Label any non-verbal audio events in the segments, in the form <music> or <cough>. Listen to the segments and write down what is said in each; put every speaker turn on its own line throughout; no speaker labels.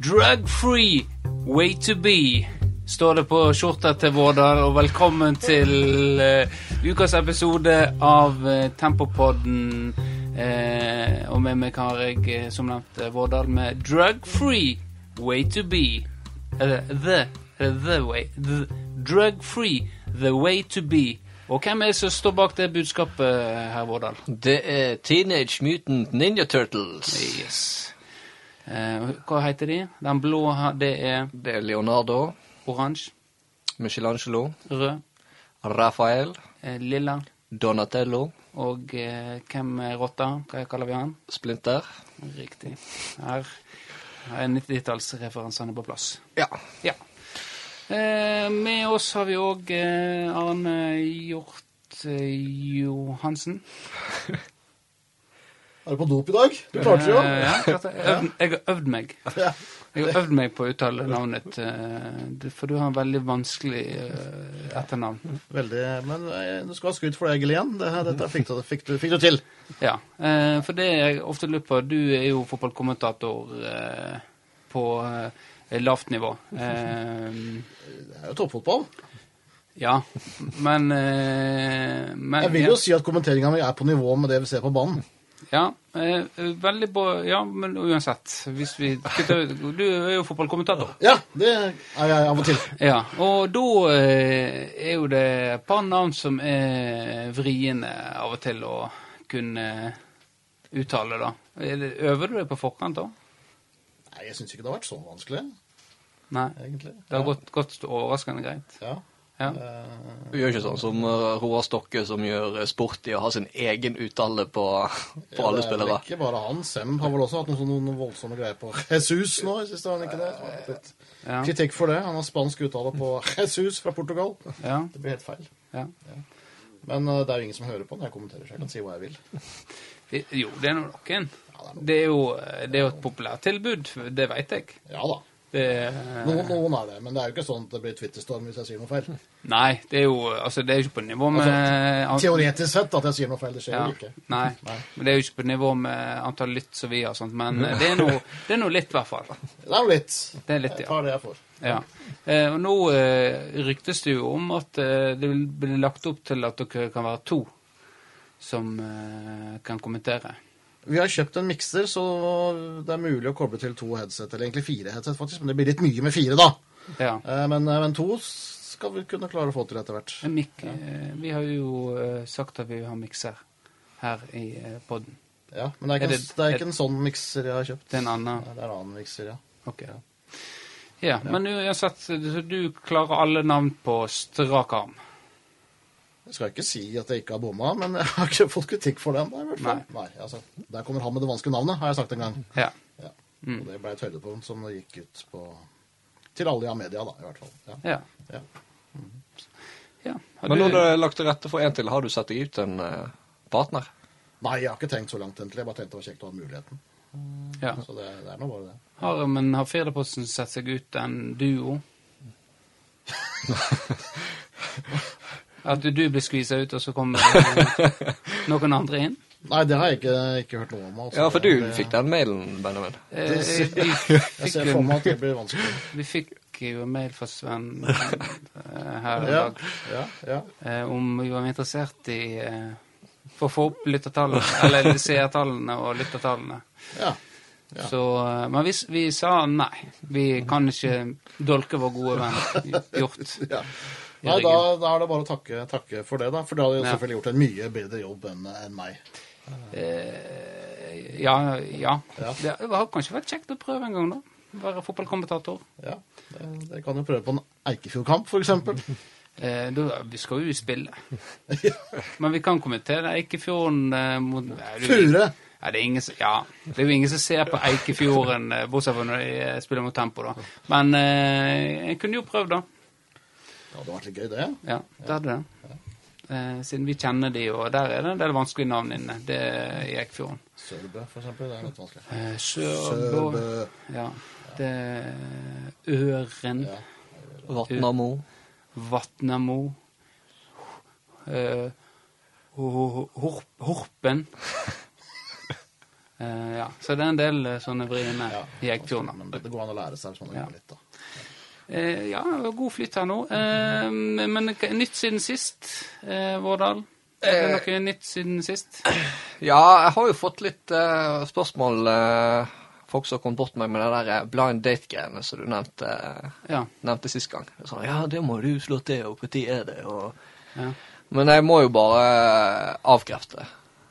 Drug free way to be, står det på skjorta til Vårdal. Og velkommen til eh, ukas episode av eh, Tempopodden. Eh, og med meg har jeg, eh, som nevnt, eh, Vårdal med Drug free way to be. Eller the, eller the way. The, drug free the way to be. Og hvem er det som står bak det budskapet, herr Vårdal?
Det er Teenage Mutant Ninja Turtles.
Yes. Eh, hva heter de? Den blå her, det er
Det er Leonardo,
oransje.
Michelangelo,
Rød.
Raphael,
eh, Lilla.
Donatello,
Og eh, hvem er rotta? Hva kaller vi han?
Splinter.
Riktig. Her er 90-tallsreferansene på plass.
Ja.
Ja. Eh, med oss har vi òg eh, Arne Hjort eh, Johansen.
Er du på dop i dag? Du klarte det jo.
Eh, ja, klart det. Jeg øvd- jeg har øvd meg.
Ja.
Jeg har øvd meg på å uttale navnet, eh, du- for du har en veldig vanskelig eh, etternavn.
Veldig, men eh, du skal ha skudd for deg, Glenn. Det her, dette fikk du, fikk, du, fikk du til.
Ja, eh, for det jeg ofte lurer på Du er jo fotballkommentator eh, på eh, lavt nivå. Eh,
Det er jo toppfotball.
ja, men, eh, men
Jeg vil jo si at kommenteringa mi er på nivå med det vi ser på banen.
Ja, eh, veldig bra. Ja, men uansett. Hvis vi kutter ut Du er jo fotballkommentator.
Ja, det er jeg av og til.
Ja, og da eh, er jo det et par navn som er vriene av og til å kunne uttale, da. Er det- Øver du deg på forkant, da?
Nei, jeg syns ikke det har vært så vanskelig,
Nei.
egentlig.
Det har gått, gått overraskende greit.
Ja.
Ja.
Eh,
Du gjør ikke sånn som eh, Roar Stokke, som gjør eh, sport i å ha sin egen uttale på, på alle
det er vel
spillere.
Ikke bare han. Sem har vel også hatt noen, sånne- noen voldsomme greier på Jesus nå. Jeg synes det var ikke det. Så det er litt
Ja,
Kritikk for det. Han har spansk uttale på Jesus fra Portugal.
ja,
Det blir helt feil.
ja.
Men eh, det er jo ingen som hører på når jeg kommenterer, så jeg kan si hva jeg vil.
Det, jo, det er nå noen.
Ja, det er noe.
Det er jo det er jo et populært tilbud, det veit jeg.
Ja da.
Det, Eh.
Noen, noen er det, men det er jo ikke sånn at det blir Twitter-storm hvis jeg sier noe feil.
<laughs> nei, det er jo altså, det er jo ikke på nivå med
Teoretisk sett at jeg sier noe feil, det skjer
ja,
jo ikke.
Nei, men det er jo ikke på nivå med antall lytt som vi har, sånt, men eh, det er noe, det er noe litt, i hvert fall.
Det er jo litt.
Det er litt, ja.
Jeg tar det jeg får.
ja. Eh, og nå eh, ryktes det jo om at eh, det blir lagt opp til at dere kan være to som eh, kan kommentere.
Vi har kjøpt en mikser, så det er mulig å koble til to headset, eller egentlig fire headset, faktisk, men det blir litt mye med fire, da.
Ja.
Eh, Men, eh, men to skal vi kunne klare å få til etter hvert.
Men Mik eh, vi har jo eh, sagt at vi har mikser her i eh, podden.
Ja, men det
Er
er
det-
ikke, en, det er ikke en sånn mikser jeg har kjøpt.
Det er en annen.
Nei, Det er en annen mikser, ja.
Ok. Ja, men uansett, så du klarer alle navn på strak arm.
Jeg skal ikke si at jeg ikke har bomma, men <laughs> jeg har ikke fått kritikk for den. Da, i hvert fall.
Nei.
Nei. altså, der kommer han med det vanskelige navnet, har jeg sagt en gang.
Ja. Mm.
Ja. Og det ble et høydepunkt som det gikk ut på Til alle i Amedia, da, i hvert fall. Ja.
Ja.
Ja.
ja. Har
Men
du-
nå er det lagt til rette for en til. Har du satt deg ut en eh, partner?
Nei, jeg har ikke tenkt så langt, egentlig. Jeg bare tenkte det var kjekt å ha muligheten.
ja.
Så det, det er nå bare det.
Har, men har Firdaposten sett seg ut en
<laughs>
duo? At du, du blir skvisa ut, og så
<laughs>
kommer eh, noen andre inn?
Nei, det har jeg ikke, ikke hørt noe om. altså.
Ja, for du
Det-
fikk den mailen, Benjamin.
Eh,
Det ser-
vi
<laughs> Jeg
fikk
ser for
en,
meg at det blir vanskelig.
vi fikk jo en mail fra
<laughs>
Sven eh, her i
Ja,
dag.
ja, ja.
eh, om vi var interessert i eh, for å få opp lyttertallene, eller seertallene og lyttertallene.
ja. Ja.
Så, eh, men vi, s- vi sa nei. Vi kan ikke dolke vår gode venn Hjort.
<laughs> ja. Nei, da, da er det bare å takke, takke for det, da. For det hadde jo
Ja.
selvfølgelig gjort en mye bedre jobb enn enn meg.
Eh, ja, ja.
Ja.
Det har kanskje vært kjekt å prøve en gang, da. Være fotballkommentator.
Ja, det, det kan jo prøve på en Eikefjordkamp, f.eks.
Eh, da, vi skal jo
<laughs>
spille. Men vi kan kommentere Eikefjorden eh, mot Nei, det er jo-
Fure!
Ja, det er ingen, som- ja, det er jo ingen som ser på Eikefjorden, eh, bortsett fra når de eh, spiller mot Tempo, da. Men eh, jeg kunne jo prøvd, da.
Det hadde vært litt gøy, det.
Ja, det hadde det. Eh, siden vi kjenner de, og der er det en del vanskelige navn inne. Det er i Eikefjorden.
Sørbø, for eksempel. Det er litt vanskelig.
Eh, Sørbå
Sørbø.
Ja. Det er Øren,
Ja.
Vatnamo.
Vatnamo eh, Ho- Ho- Horp- Horpen Eh, ja. Så det er en del eh, sånne vriene i Eikfjorden. da.
Men det går an å lære seg hvis man
Ja.
øver litt, da.
Eh, ja, god flytt her nå. Eh, men hva- nytt siden sist, eh, Vårdal? Er
Eh.
det noe nytt siden sist?
Ja, jeg har jo fått litt eh, spørsmål. eh, folk som kom bort meg med det der eh, blind date-greiene som du nevnte, eh,
Ja.
nevnte sist gang. Det er Sånn, ja, det må du slå til, og når er det? Og...
ja.
Men jeg må jo bare eh, avkrefte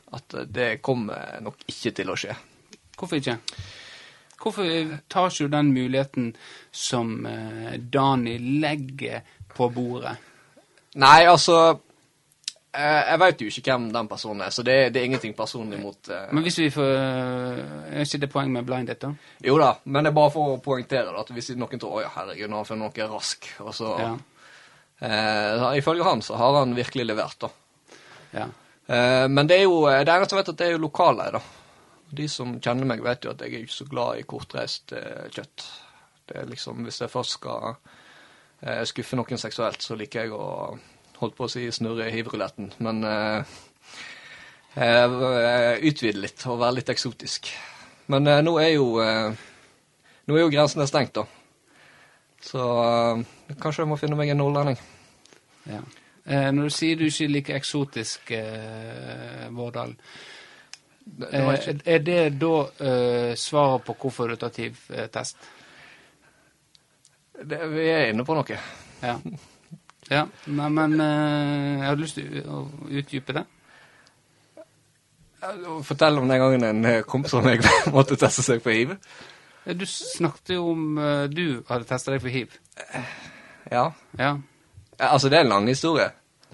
at eh, det kommer nok ikke til å skje.
Hvorfor ikke? Hvorfor tar ikke du den muligheten som eh, Dani legger på bordet?
Nei, altså eh, Jeg veit jo ikke hvem den personen er, så det, det er ingenting personlig mot eh,
Men hvis vi får Er ikke det poeng med blind date, da?
Jo da, men det er bare for å poengtere det, at hvis noen tror 'Å ja, herregud, nå har han funnet noe rask', og så
Ja.
eh, Ifølge han så har han virkelig levert, da.
ja.
Eh, men det er jo eh, det eneste jeg vet, at det er jo lokale, da. De som kjenner meg, vet jo at jeg er ikke så glad i kortreist eh, kjøtt. Det er liksom, Hvis jeg først skal eh, skuffe noen seksuelt, så liker jeg å holdt på å si snurre i hivruletten. Men eh, eh, utvide litt og være litt eksotisk. Men eh, nå er jo eh, nå er jo grensene stengt, da. Så eh, kanskje jeg må finne meg en nordlending.
ja. Eh, når du sier du ikke liker eksotisk, eh, Vårdal,
Det, det
eh,
var ikke...
er det da eh, svaret på hvorfor du tar TIV-test?
det, vi er inne på noe.
Ja. ja. Nei, men eh, jeg hadde lyst til å utdype det.
Fortell om den gangen en eh, kompis av meg <laughs> måtte teste seg på hiv.
Eh, Du snakket jo om eh, du hadde testa deg for hiv.
Ja.
Ja.
Eh, Altså, det er en lang historie.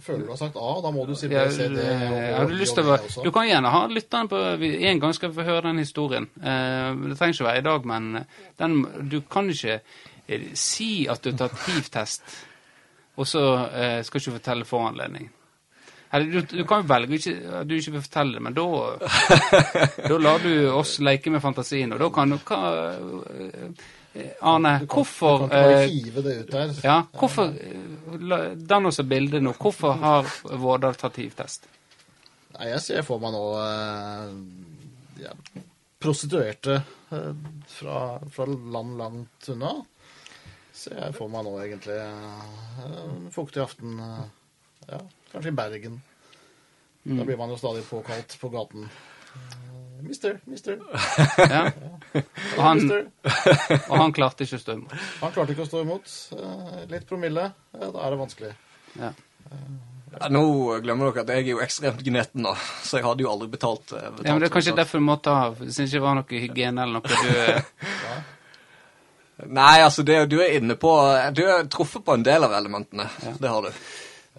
Føler du har sagt A, da må du si B,
Jeg,
C, D E,
eh,
og-
jeg hadde lyst til å
og- også.
Du kan gjerne ha lytterne på vi- En gang skal vi få høre den historien. Eh, Det trenger ikke være i dag, men eh, den, du kan ikke eh, si at du har tatt hiv-test, og så eh, skal du ikke fortelle foranledningen. Eller du, du kan jo velge ikke, at du ikke vil fortelle det, men da
<laughs>
Da lar du oss leke med fantasien, og da kan du hva, eh, Arne, hvorfor
Du kan ikke bare
eh,
hive det ut der.
ja, hvorfor, eh, la- Dan oss et bilde nå. Hvorfor har Vårdal tatt hivtest?
Nei, jeg ser for meg nå eh, ja, prostituerte eh, fra, fra land langt unna. Ser jeg for meg nå egentlig eh, fuktig aften eh, ja, Kanskje i Bergen.
Mm.
Da blir man jo stadig påkalt på gaten. Eh, Mister, mister,
Ja. Og han,
mister.
og han klarte ikke å stå imot.
Han klarte ikke å stå imot. Eh, Litt promille, eh, da er det vanskelig.
Ja.
Ja, nå glemmer dere at jeg er jo ekstremt gneten, da, <laughs> så jeg hadde jo aldri betalt. eh, betalt
ja, men Det er kanskje
sånn.
derfor du må ta av. Siden det ikke var noe hygiene eller noe du eh,
Nei, altså, det, du er inne på eh, Du er truffet på en del av elementene. Det har du.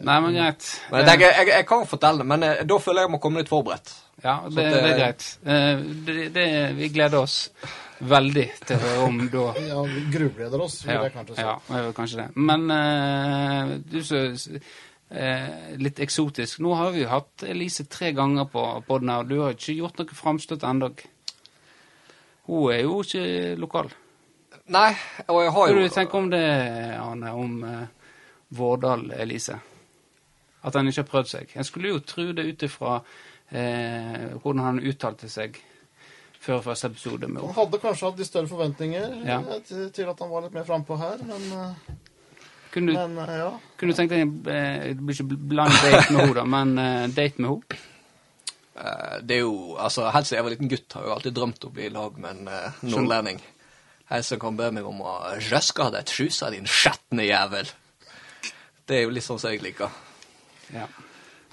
Nei, men greit.
Men jeg, tenker, jeg, jeg kan fortelle det, men eh, da føler jeg jeg må komme litt forberedt.
Ja, det,
at,
det er
eh,
greit. Eh, Det, det, vi gleder oss veldig til å høre om da
Ja, vi grubleder oss, vil
Ja,
jeg kanskje si.
ja, jeg vil kanskje det. Men eh, du så eh, Litt eksotisk. Nå har vi jo hatt Elise tre ganger på podden her, og du har ikke gjort noe framstøt ennå. Hun er jo ikke lokal.
Nei, og jeg har
Hva
jo
du tenker om det, Arne, om eh, Vårdal Elise? At han ikke har prøvd seg. Jeg skulle jo tro det ut ifra eh, hvordan han uttalte seg før første episode med
Han
henne.
hadde kanskje hatt de større forventninger
Ja.
eh, til, til at han var litt mer frampå her, men, eh,
Kunne du
men eh, ja.
Kunne du tenkt deg eh, Det blir ikke bl- blind date med henne, da, men eh, date med henne?
Eh, Det er jo, altså Helt siden jeg var liten gutt, har jeg jo alltid drømt om å bli i lag med en eh, nordlending. En som kan be meg om å røske av deg trusa, din skjetne jævel. Det er jo litt sånn som jeg liker.
Ja.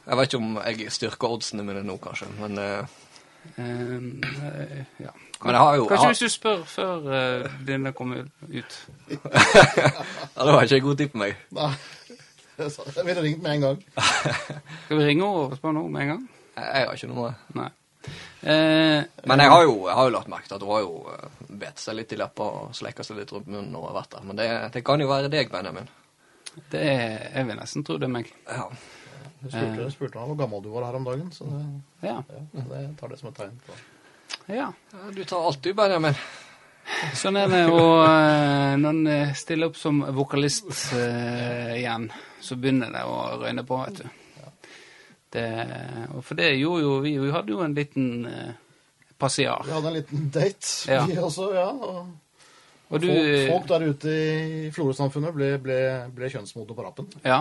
Jeg vet ikke om jeg styrker oddsene mine nå, kanskje, men, eh,
Eh, ja.
men jeg har jo jeg
Kanskje
har,
hvis du spør før uh, denne kommer ut.
ja, Det var ikke en god tid på meg.
Nei. <laughs> Jeg ville ringt med en gang.
Skal vi ringe henne og spørre henne med en gang?
Jeg, jeg har ikke noe
Nei. Eh,
Men jeg har jo, jeg har jo lagt merke til at hun har jo eh, bet seg litt i leppa og sleika seg litt rundt munnen når hun har vært der. Men det, det kan jo være deg, Benjamin.
det er, jeg vil nesten tro det er meg.
Ja.
Du spurte, spurte meg hvor gammel du var her om dagen, så det,
Ja.
ja, det jeg tar det som et tegn. på.
ja.
Ja, Du tar alt du, Benjamin.
Sånn er det. Og eh, når en eh, stiller opp som vokalist eh, igjen, så begynner det å røyne på, vet du. Det, og for det gjorde jo vi. Vi hadde jo en liten eh, passiar.
Vi hadde en liten date,
Ja.
vi også. ja. Og
Og du
folk, folk der ute i Florø-samfunnet ble, ble, ble kjønnsmodne på rappen.
Ja.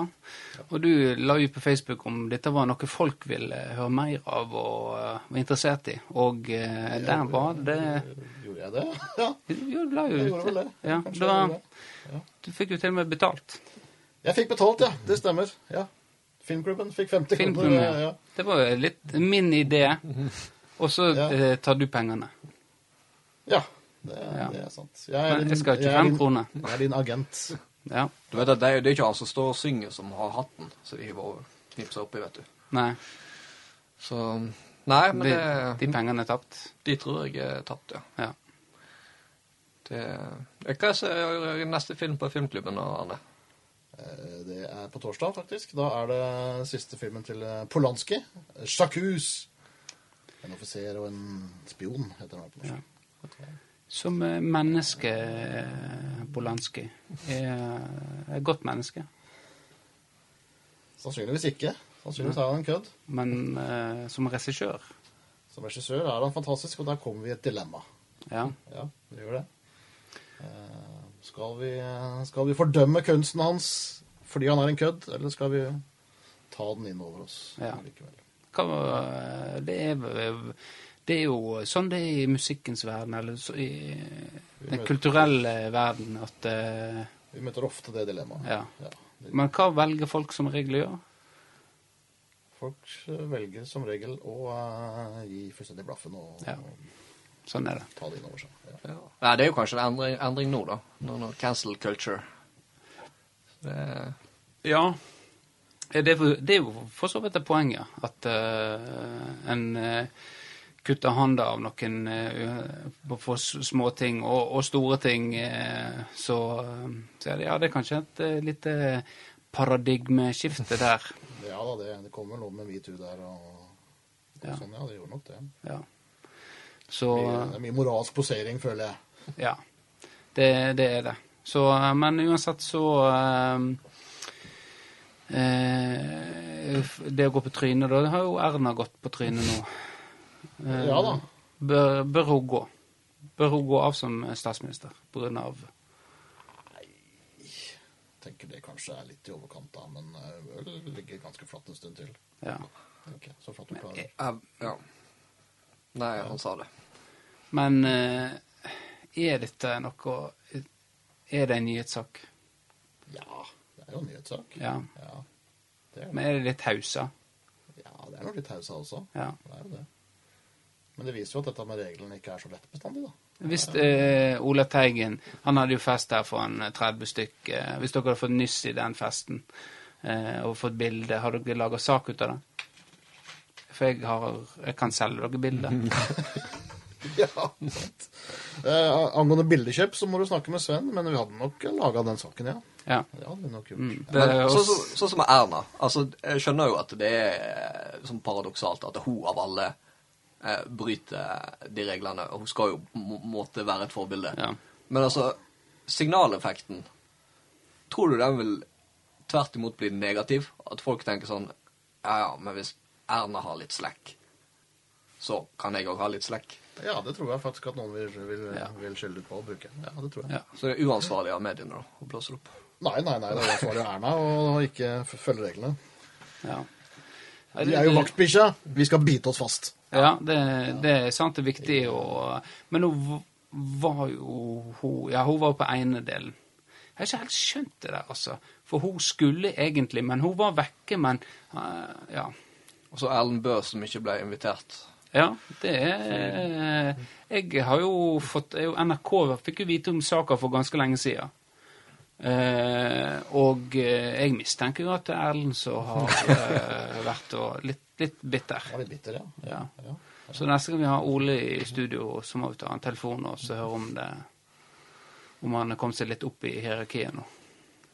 Og du la ut på Facebook om dette var noe folk ville høre mer av og eh, var interessert i. Og eh, der var det
Gjorde jeg det? <laughs> Ja.
Jo, du la jo
Jeg
ut
gjorde vel det.
Ja,
Kanskje
det
jeg gjorde
var,
det.
du fikk jo til og med betalt.
Jeg fikk betalt, ja. Det stemmer. ja. Filmklubben fikk 50
Filmklubben,
kroner. Ja,
ja.
ja.
Det var jo litt min idé. Og så
Mhm. Ja.
eh, tar du pengene.
ja det, er-
Ja.
det er sant. Jeg
Men jeg skal ha
jeg er
25
din-
kroner.
Jeg er din agent.
Ja.
Du vet at det, er- det er ikke alle som står og synger, som har hatten, så de hiver over. Knipser oppi, vet du.
Nei.
Så Nei, men
De,
det,
de pengene er tapt.
de tror jeg er tapt, ja.
Ja.
Det, hva er så- neste film på Filmklubben da, Arne?
Eh, Det er på torsdag, faktisk. Da er det siste filmen til eh, Polanski. Sjakus! En offiser og en spion, heter han på norsk.
Ja. Som eh, menneske, eh, Polanski, er et godt menneske.
Sannsynligvis ikke. Sannsynligvis er han en kødd.
Men eh, som regissør,
Som regissør er han fantastisk, og der kommer vi i et dilemma.
ja.
Ja, vi gjør det. Eh, Skal vi, skal vi fordømme kunsten hans fordi han er en kødd, eller skal vi ta den inn over oss
Ja.
likevel?
Hva, var- det, er, vel- det er jo sånn det er i musikkens verden, eller så, i den kulturelle verden, at eh,
Vi møter ofte det dilemmaet.
Ja.
Ja.
Men hva velger folk som regel å gjøre?
Folk eh, velger som regel å eh, gi fullstendig blaffen og,
Ja.
og
Sånn er det.
ta det inn over seg. Ja.
Ja. Nei, det er jo kanskje en endring, endring nå, da. Nå, nå, cancel culture. Det,
Ja. Eh, Det er, for- det er jo for så vidt det poenget, at eh, en eh, kutter hånda av noen uh, for småting og, og store ting, eh, så, eh, så er det, ja, det er kanskje et eh, lite paradigmeskifte der.
ja da, det, det kommer vel noe med metoo der og, og
Ja.
sånn. Ja, det gjorde nok det.
Ja. Så
Mye, det er mye moralsk posering, føler jeg.
Ja, det, det er det. Så, eh, men uansett så eh, eh, f- Det å gå på trynet, da. Det har jo Erna gått på trynet nå. Eh,
Ja da.
Bør, bør hun gå? Bør hun gå av som statsminister på grunn av
Tenker det kanskje er litt i overkant, da, men eh, vel ligger ganske flatt en stund til.
Ja.
tenker jeg. Så flatt du klarer.
eh, ja. Nei, han sa det.
Men eh, er dette noe Er det en nyhetssak?
Ja, det er jo en nyhetssak.
Ja.
Ja, det er,
Men er det litt hausa?
ja, det er nok litt hausa også.
Ja.
Det er jo det. Men det viser jo at dette med reglene ikke er så lett bestandig,
<laughs>
da.
Hvis eh, Ola Teigen Han hadde jo fest her for en eh, 30 stykk. Eh, hvis dere hadde fått nyss i den festen eh, og fått bilde, har dere laga sak ut av det? For jeg, har, jeg kan selge dere
Mm.
bilder.
Ja, sant. Eh, angående bildekjøp så må du snakke med Sven, men vi hadde nok laga den saken, ja.
Ja.
Det hadde vi nok gjort.
Mm. Det,
Men
er
sånn
også,
som sånn som Erna. Altså, jeg skjønner jo at det er eh, sånn paradoksalt at hun av alle eh, bryter de reglene. og Hun skal jo på en måte være et forbilde.
Ja.
Men altså, signaleffekten Tror du den vil tvert imot bli negativ? At folk tenker sånn Ja, ja, men hvis Erna har litt slekk, så kan jeg òg ha litt slekk.
Ja, det tror jeg faktisk at noen vil, vil,
Ja.
vil skylde ut på å bruke. Ja, det tror jeg.
ja.
Så det er uansvarlig av mediene da, å blåse det opp.
Nei, nei, nei, det var jo Erna å ikke f- følge reglene.
ja.
Vi er jo vaktbikkja. Vi skal bite oss fast.
Ja, det, det er sant. Det er viktig å Men hun v- var jo hun, Ja, hun var på ene delen. Jeg har ikke helt skjønt det der, altså. For hun skulle egentlig, men hun var vekke, men eh, Ja.
Og så Erlend Bøe som ikke ble invitert.
Ja, det er Jeg har jo fått jeg, NRK fikk jo vite om saka for ganske lenge sida. Eh, og eh, jeg mistenker jo at det er Erlend som har eh, vært og litt, litt bitter.
Han er litt bitter, ja.
Ja.
ja.
Så neste gang vi har Ole i studio, så må vi ta en telefon og så høre om det Om han har kommet seg litt opp i hierarkiet nå.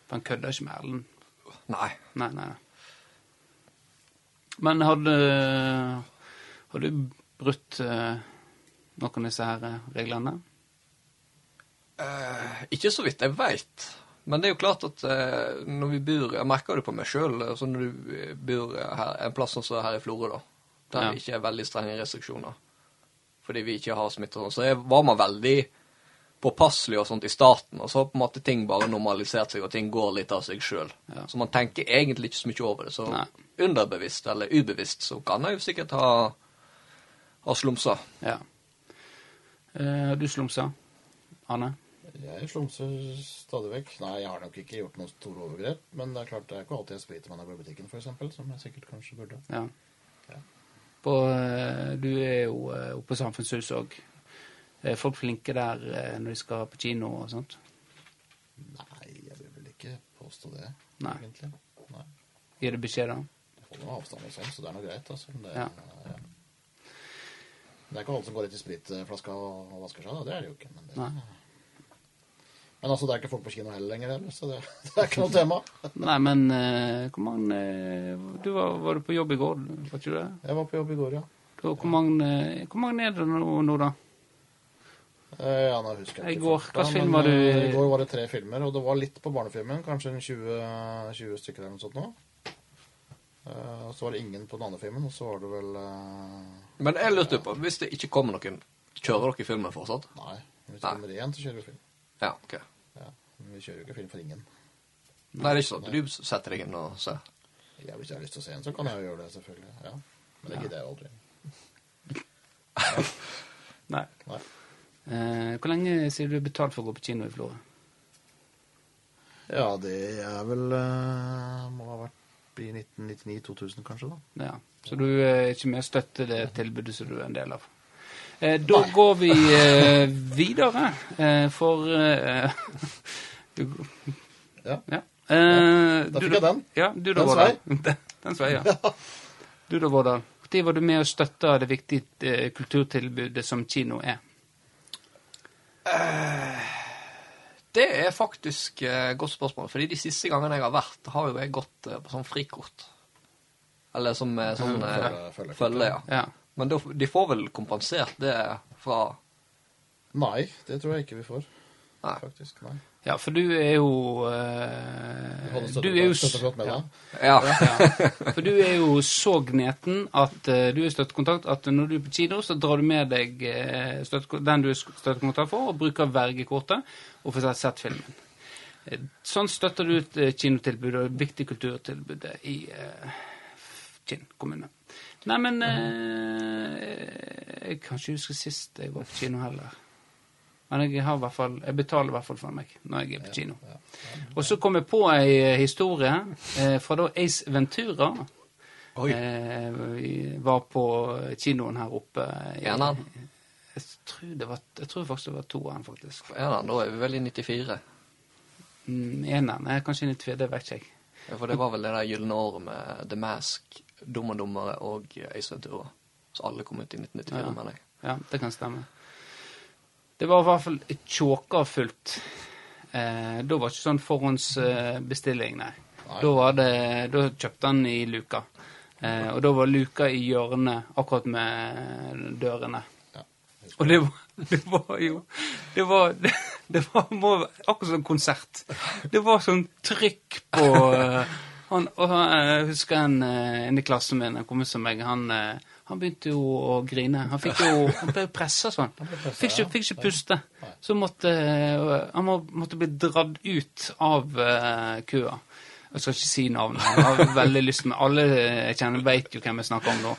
For han kødder ikke med Erlend.
Nei.
Nei, nei. nei. Men har du, har du brutt eh, noen av disse her eh, reglene?
Eh, ikke så vidt jeg veit. Men det er jo klart at eh, når vi bor Jeg merker det på meg sjøl når du eh, bor her, en plass sånn som her i Florø, da. Der
Ja.
det ikke er veldig strenge restriksjoner. fordi vi ikke har smitte og sånn. Så jeg var man veldig påpasselig og sånt i starten, og så har på en måte ting bare normalisert seg, og ting går litt av seg sjøl.
Ja.
Så man tenker egentlig ikke så mye over det. Så
Nei.
underbevisst eller ubevisst så kan jeg jo sikkert ha, ha slumsa.
Ja. Eh, du slumsa, Arne?
Jeg slumser stadig vekk. Nei, jeg har nok ikke gjort noen store overgrep, men det er klart det er ikke alltid jeg spriter når jeg går i butikken, for eksempel, som jeg sikkert kanskje burde.
Ja.
Ja.
På, eh, du er jo eh, oppe på Samfunnshuset òg. Er folk flinke der eh, når de skal på kino og sånt?
Nei, jeg vil vel ikke påstå det,
Nei.
egentlig. Nei.
Gir du beskjed da?
Jeg holder meg avstand og sånn, så det er noe greit, altså. Men det,
Ja.
ja. Men det er ikke alle som går rett i spritflaska og, og vasker seg, da. Det er det jo ikke. Men, det, <laughs>
Nei.
men altså, det er ikke folk på kino heller lenger heller, så det, <laughs> det er ikke noe tema.
Nei, men eh, hvor mange eh, Du var, var du på jobb i går, var ikke du det?
Jeg var på jobb i går, ja.
Da, Hvor mange, eh, hvor mange er det nå, nå da?
Eh, Ja, nå husker
I
jeg
går,
farta,
hvilken film
men,
var du-
eh, I går var det tre filmer, og det var litt på barnefilmen. Kanskje en 20, 20 stykker eller noe sånt nå. Eh, Og så var det ingen på den andre filmen, og så var det vel eh,
Men jeg lurte på, hvis det ikke kommer noen, kjører dere filmen fortsatt?
Nei. Hvis det
Nei.
kommer én, så kjører vi film.
Ja, ok.
Ja. Men vi kjører jo ikke film for ingen.
Nei, det er ikke sånn. Du setter deg inn og ser.
Ja, hvis jeg har lyst til å se en, så kan jeg jo gjøre det, selvfølgelig. Ja. Men det gidder jeg jo aldri.
Nei.
Nei.
Eh, hvor lenge sier du betalt for å gå på kino i Florø?
Ja, det er vel eh, Må ha vært i 1999-2000, kanskje, da.
Ja. Så du er ikke med å støtte det tilbudet som du er en del av? Eh, da går vi eh, videre, eh, for eh, <laughs> du,
Ja.
Ja. Eh,
Da
du
fikk jeg den.
Ja, du da,
Den
Vårdal. <laughs> Den svei, ja. Du da, Vårdal. Når var du med å støtte det viktige eh, kulturtilbudet som kino er?
Det er faktisk eh, et godt spørsmål, fordi de siste gangene jeg har vært, har jo jeg gått eh, på sånn frikort. Eller som eh, sånn eh,
Følge- følgekort,
følge, ja.
Ja.
Men da- de får vel kompensert det fra
Nei, det tror jeg ikke vi får.
Nei.
Faktisk. Nei.
ja, for du er jo eh,
Holder
Du
støtte-
er jo
støtte
s-
godt med
ja.
deg.
Ja.
ja. For du er jo så gneten at eh, du er støttekontakt at når du er på kino, så drar du med deg eh, støttekon- den du er sk- støttekontakt for, og bruker vergekortet og får sett- sett filmen. Eh, Sånn støtter du ut eh, kinotilbudet og det viktige kulturtilbudet i eh, Kinn kommune. Neimen eh, Jeg kan ikke huske sist jeg var på kino heller. Men jeg, har i hvert fall, jeg betaler i hvert fall for meg når jeg er på kino. Og så kom jeg på ei eh, historie eh, fra da Ace Ventura
Oi.
eh, vi var på kinoen her oppe. i-
Eneren?
Jeg tror, det var, jeg tror faktisk det var toeren, faktisk.
Ja, da, da er vi vel i 94.
Mm, Eneren? Nei, Kanskje litt ved, det vet ikke jeg.
Ja, For det var vel det der gylne året med The Mask, Dum og Dummere og Ace Ventura. Så alle kom ut i 1994,
Ja.
mener jeg.
Ja, det kan stemme. Det var i hvert fall tjåka fullt. Eh, da var det ikke sånn forhåndsbestilling, nei.
Nei.
Da, var det, da kjøpte han i luka. Eh, og da var luka i hjørnet, akkurat med dørene.
Ja.
Og det var, det var jo Det var, det, var må, akkurat som en konsert. Det var sånn trykk på eh, han, og han, Jeg husker en, eh, en i klassen min, en kompis av meg, han, eh, han begynte jo å grine. Han fikk jo Han ble pressa sånn. Fikk ikke, fikk ikke puste. Så måtte eh, han må, måtte bli dratt ut av eh, køa. Jeg skal ikke si navnet. Jeg har veldig lyst men Alle jeg kjenner, veit jo hvem jeg snakker om nå.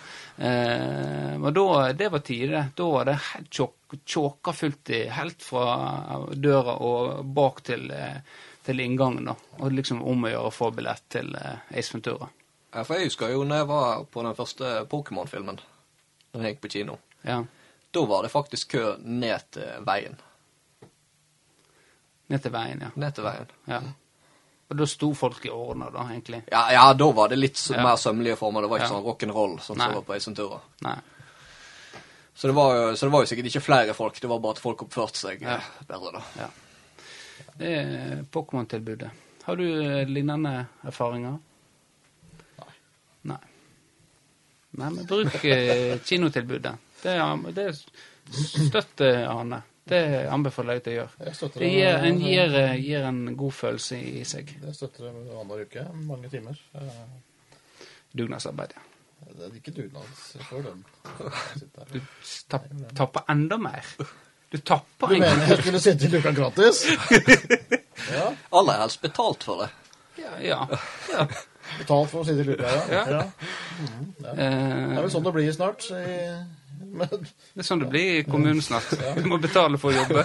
Eh, men da, det var tidlig. Da var det helt tjåk- tjåka fullt i, helt fra døra og bak til, eh, til inngangen. da. Og liksom om å gjøre å få billett til eh, Ace Ventura.
Ja, for jeg husker jo når jeg var på den første Pokémon-filmen, da jeg gikk på kino.
Ja.
Da var det faktisk kø ned til veien.
Ned til veien, ja.
Ned til veien.
ja. Og da sto folk i ordner, da, egentlig.
Ja, ja da var det litt s-
Ja.
mer sømmelige former. Det var ikke
Ja.
sånn rock'n'roll sånn som
Nei.
det var på Ace Ventura.
Nei.
Så det, var jo, så det var jo sikkert ikke flere folk, det var bare at folk oppførte seg eh, bedre, da.
Ja. Det er Pokémon-tilbudet. Har du eh, lignende erfaringer? Nei. Nei. Nei, men bruk eh, kinotilbudet. Det, er- det støtter Arne. Det anbefaler jeg deg å gjøre.
Jeg støtter
Det
det.
gir en, gir, eh, gir en god følelse i seg.
Jeg støtter det annenhver uke. Mange timer. Eh,
Dugnadsarbeid. ja.
Det er ikke dugnads for den. Sitter her.
Du tap, tapper enda mer. Du tapper
Du
en
mener jeg skulle sitte i luka gratis? <laughs> Ja.
Aller helst betalt for det.
Ja. ja. ja.
Betalt for å sitte i luka, ja.
Ja.
ja. Det er
Eh,
vel sånn det blir snart. I, men,
det er sånn det blir i kommunen snart. Du må betale for å jobbe.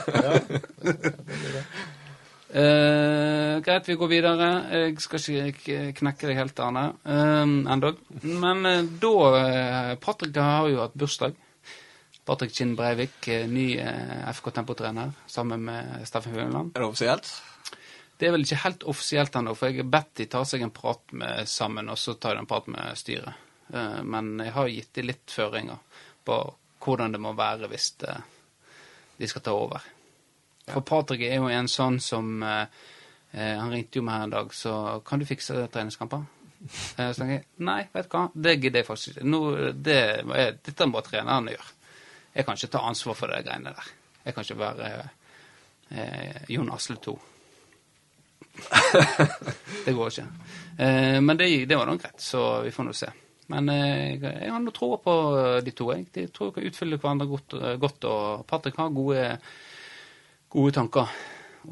Eh, greit, vi går videre. Jeg skal ikke k- knekke deg helt, Arne, eh, endog. Men eh, da eh, Patrick har jo hatt bursdag. Patrick Kinn Breivik, eh, ny eh, FK Tempo-trener sammen med Steffen Høgland.
Er det offisielt?
Det er vel ikke helt offisielt ennå, for jeg har bedt de ta seg en prat med sammen, og så tar de en prat med styret. Eh, Men jeg har gitt de litt føringer på hvordan det må være hvis eh, de skal ta over. For Patrick er jo en sånn som eh, eh, Han ringte jo meg her en dag, så kan du fikse treningskamper? Eh, Så tenker jeg nei, vet du hva, det gidder jeg faktisk ikke. Nå, det, er- dette må treneren gjøre. Jeg kan ikke ta ansvar for de greiene der. Jeg kan ikke være eh, Jon Asle 2. Det går ikke. Eh, men det, det var nå greit, så vi får nå se. Men eh, jeg har nå troa på eh, de to. Jeg De tror jeg kan utfylle hverandre godt, eh, godt og Patrick har gode, gode tanker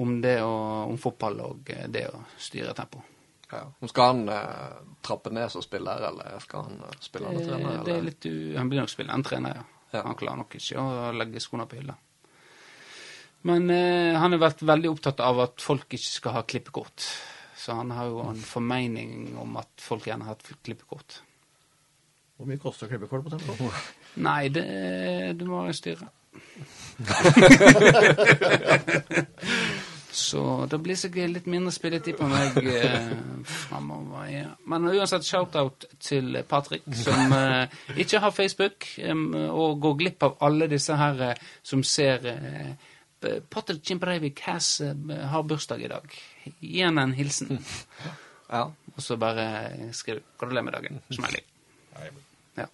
om det og om fotball og eh, det å styre tempo.
Ja. Men Skal han eh, trappe ned som spiller, eller skal han eh, spille
Eh,
andre trener?
det
Eller?
er litt, u- han blir nok spillende en trener, ja.
Ja.
Han klarer nok ikke å legge skoene på hylla. Men eh, han har vært veldig opptatt av at folk ikke skal ha klippekort. Så han har jo en formening om at folk gjerne har hatt klippekort.
hvor mye koster klippekort på tempo?
Nei, det du må styre. Så det blir sikkert litt mindre spilletid på meg eh, framover. Ja. Men uansett, shout-out til Patrick, som eh, ikke har Facebook, em, og går glipp av alle disse her eh, som ser eh, B- Patrick Chimbreivik has, eh, har bursdag i dag. Gi han en hilsen.
Ja.
Og så bare skriv 'Gratulerer med dagen'. Smelling. Ja.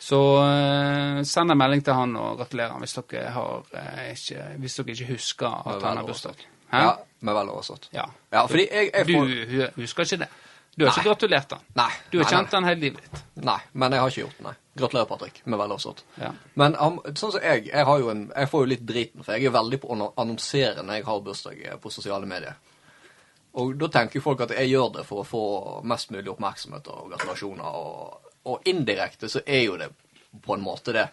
Så eh, send en melding til han og gratulerer han hvis dere, har, eh, ikke, hvis dere ikke husker
Med
at han
vel
har bursdag. Hæ?
ja. Med vel oversatt.
Ja.
Ja, fordi jeg, jeg får
Du husker ikke det. Du har ikke
Nei.
gratulert han.
Nei.
Du har
nei,
kjent han hele livet ditt.
Nei, nei, men jeg har ikke gjort det, nei. Gratulerer, Patrick, med vel oversatt.
Ja.
Men han, sånn som jeg, jeg, har jo en, jeg får jo litt driten, for jeg er veldig på å annon- annonsere når jeg har bursdag eh, på sosiale medier. Og da tenker jo folk at jeg gjør det for å få mest mulig oppmerksomhet og gratulasjoner, og, og indirekte så er jo det på en måte det.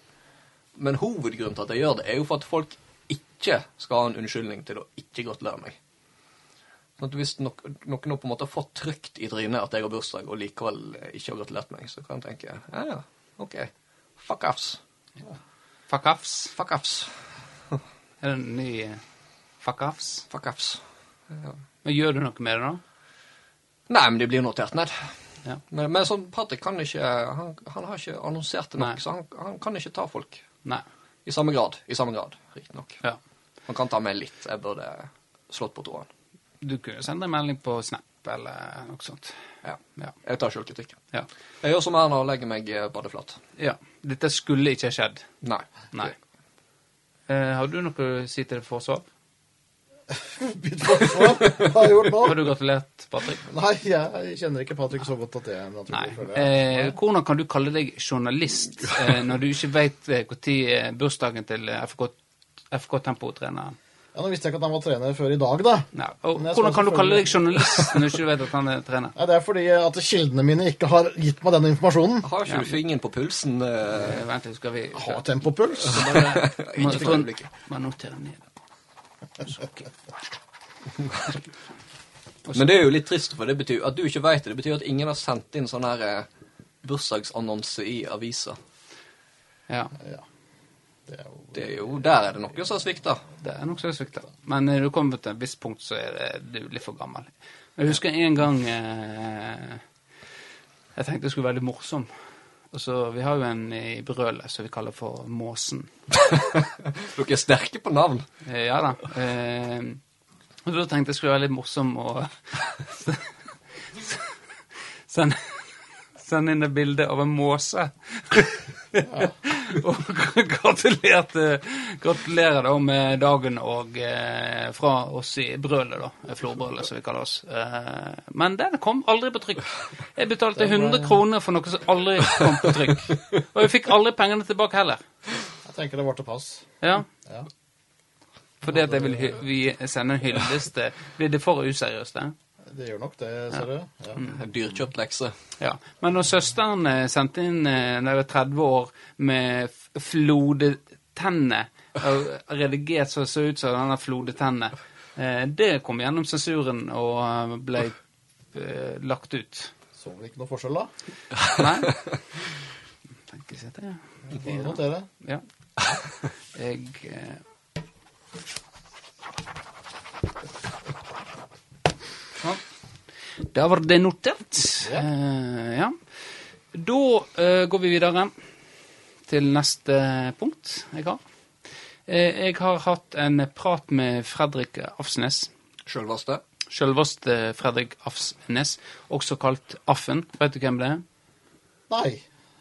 Men hovedgrunnen til at jeg gjør det, er jo for at folk ikke skal ha en unnskyldning til å ikke gratulere meg. Sånn at hvis nok, noen nå på en måte har fått trygt i trynet at jeg har bursdag, og likevel ikke har gratulert meg, så kan jeg tenke ja, ja, OK. Fuck offs.
Fuck offs.
Fuck offs.
Er det en ny eh, fuck offs?
Fuck offs. Ja.
Men gjør du noe med det, da?
Nei, men de blir jo notert ned.
Ja.
Men, men sånn Patrick kan ikke Han, han har ikke annonsert det
Nei.
nok, så han, han kan ikke ta folk.
Nei.
I samme grad. I samme grad, riktignok.
Ja.
Han kan ta meg litt. Jeg burde slått på tråden.
Du kunne sende en melding på Snap eller noe sånt.
Ja.
Ja.
Jeg tar sjølkritikk.
Ja.
Jeg gjør som Erna og legger meg eh, badeflat.
ja. Dette skulle ikke ha skjedd.
Nei.
Nei. Eh, har du noe å si til forsvar?
Mitt forsvar? Hva har jeg gjort
Har
nå?
du gratulert, Patrick?
Nei, jeg kjenner ikke Patrick så godt at det er
Nei.
naturlig. føler jeg.
Eh, hvordan kan du kalle deg journalist eh, når du ikke veit eh, når eh, bursdagen til eh, FK, FK Tempo-treneren
Ja, nå visste jeg ikke at han var trener før i dag, da.
Nei, og
Men jeg skal
Hvordan kan du
selvfølgelig-
kalle deg journalist når du ikke vet at han er trener?
Nei, det er fordi at kildene mine ikke har gitt meg den informasjonen.
Jeg har ikke du fingeren på pulsen? eh,
Eh, vent litt, skal vi
Har tempopuls.
bare, må,
for
sånn,
øyeblikket.
Bare notere ned. Så, ok.
Men det er jo litt trist, for det betyr at du ikke veit det. Det betyr at ingen har sendt inn sånn her eh, bursdagsannonse i avisa.
Ja,
Ja. Det er jo
Det er jo, Der er det noen som har svikta.
det er nokså svikta. Men når du kommer til et visst punkt, så er det, du er litt for gammel. Jeg husker en gang eh, Jeg tenkte jeg skulle være litt morsom. Og så, Vi har jo en i Brølet som vi kaller for Måsen.
Dere er sterke på navn.
Eh, ja da. Eh, og da tenkte <laughs> jeg skulle være litt morsom og Send sendte inn et bilde av en måse. <laughs> og gratulerte Gratulerer da med dagen og eh, fra oss i Brølet, da. Florbrølet, som vi kaller oss. Eh, men den kom aldri på trykk. Jeg betalte 100 kroner for noe som aldri kom på trykk. Og jeg fikk aldri pengene tilbake heller.
Jeg tenker det var til pass.
Ja.
Ja.
Fordi at jeg vil hy vi sende en hyllest til Blir det for useriøst, det?
Det gjør nok det, ser du. Ja.
Mm. Dyrkjøpt lekse.
Ja. Men når søsteren eh, sendte inn eh, når jeg var 30 år med f- flodetenner og redigert så det så ut som denne flodetenner eh, Det kom gjennom sensuren og eh, ble eh, lagt ut.
Så vel ikke noe forskjell, da.
Nei? Tenker seg det.
Bare notere.
Ja. Jeg eh, Sånn. Da var det notert.
Ja.
Eh, ja. Da eh, går vi videre til neste punkt jeg har. Eh, jeg har hatt en prat med Fredrik Afsnes.
Sjølvaste.
Sjølveste Fredrik Afsnes, også kalt Affen. Vet du hvem det er?
Nei.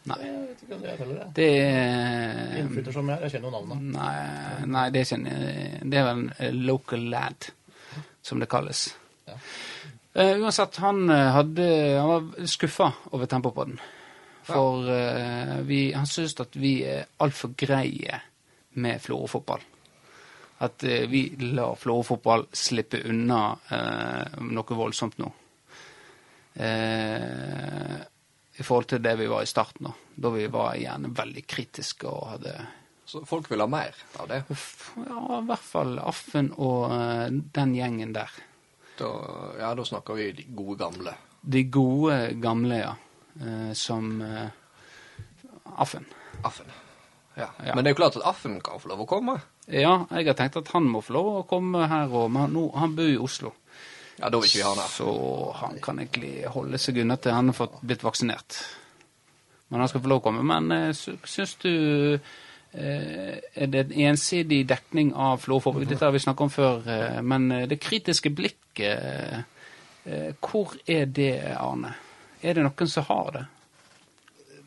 Nei.
Jeg vet ikke om det er heller, jeg.
Det er
Innflytter som jeg er, jeg kjenner
Mm.
jo navnet.
Nei, nei det, kjenner jeg. det er vel en eh, local lad, som det kalles.
Ja.
Eh, uansett, han, eh, hadde, han var skuffa over Tempopodden. For eh, vi, han syns at vi er altfor greie med florofotball. At eh, vi lar florofotball slippe unna eh, noe voldsomt nå. Eh, I forhold til det vi var i starten, da. Da vi var gjerne veldig kritiske og hadde
Så folk vil ha mer av det.
Uff, Ja, i hvert fall Affen og eh, den gjengen der.
Da, ja, da snakker vi de gode gamle.
De gode gamle, ja. eh, som eh, Affen.
Affen. Ja.
Ja.
Men det er jo klart at Affen kan få lov å komme.
Ja, jeg har tenkt at han må få lov å komme her òg, men nå, han bor i Oslo.
Ja, da vil ikke vi ha han her.
Så han kan egentlig holde seg unna til han har fått blitt vaksinert. Men han skal få lov å komme. Men eh, sy- syns du eh, Er det en ensidig dekning av florforbud? Dette har vi snakket om før, eh, men eh, det kritiske blikket eh, Hvor er det, Arne? Er det noen som har det?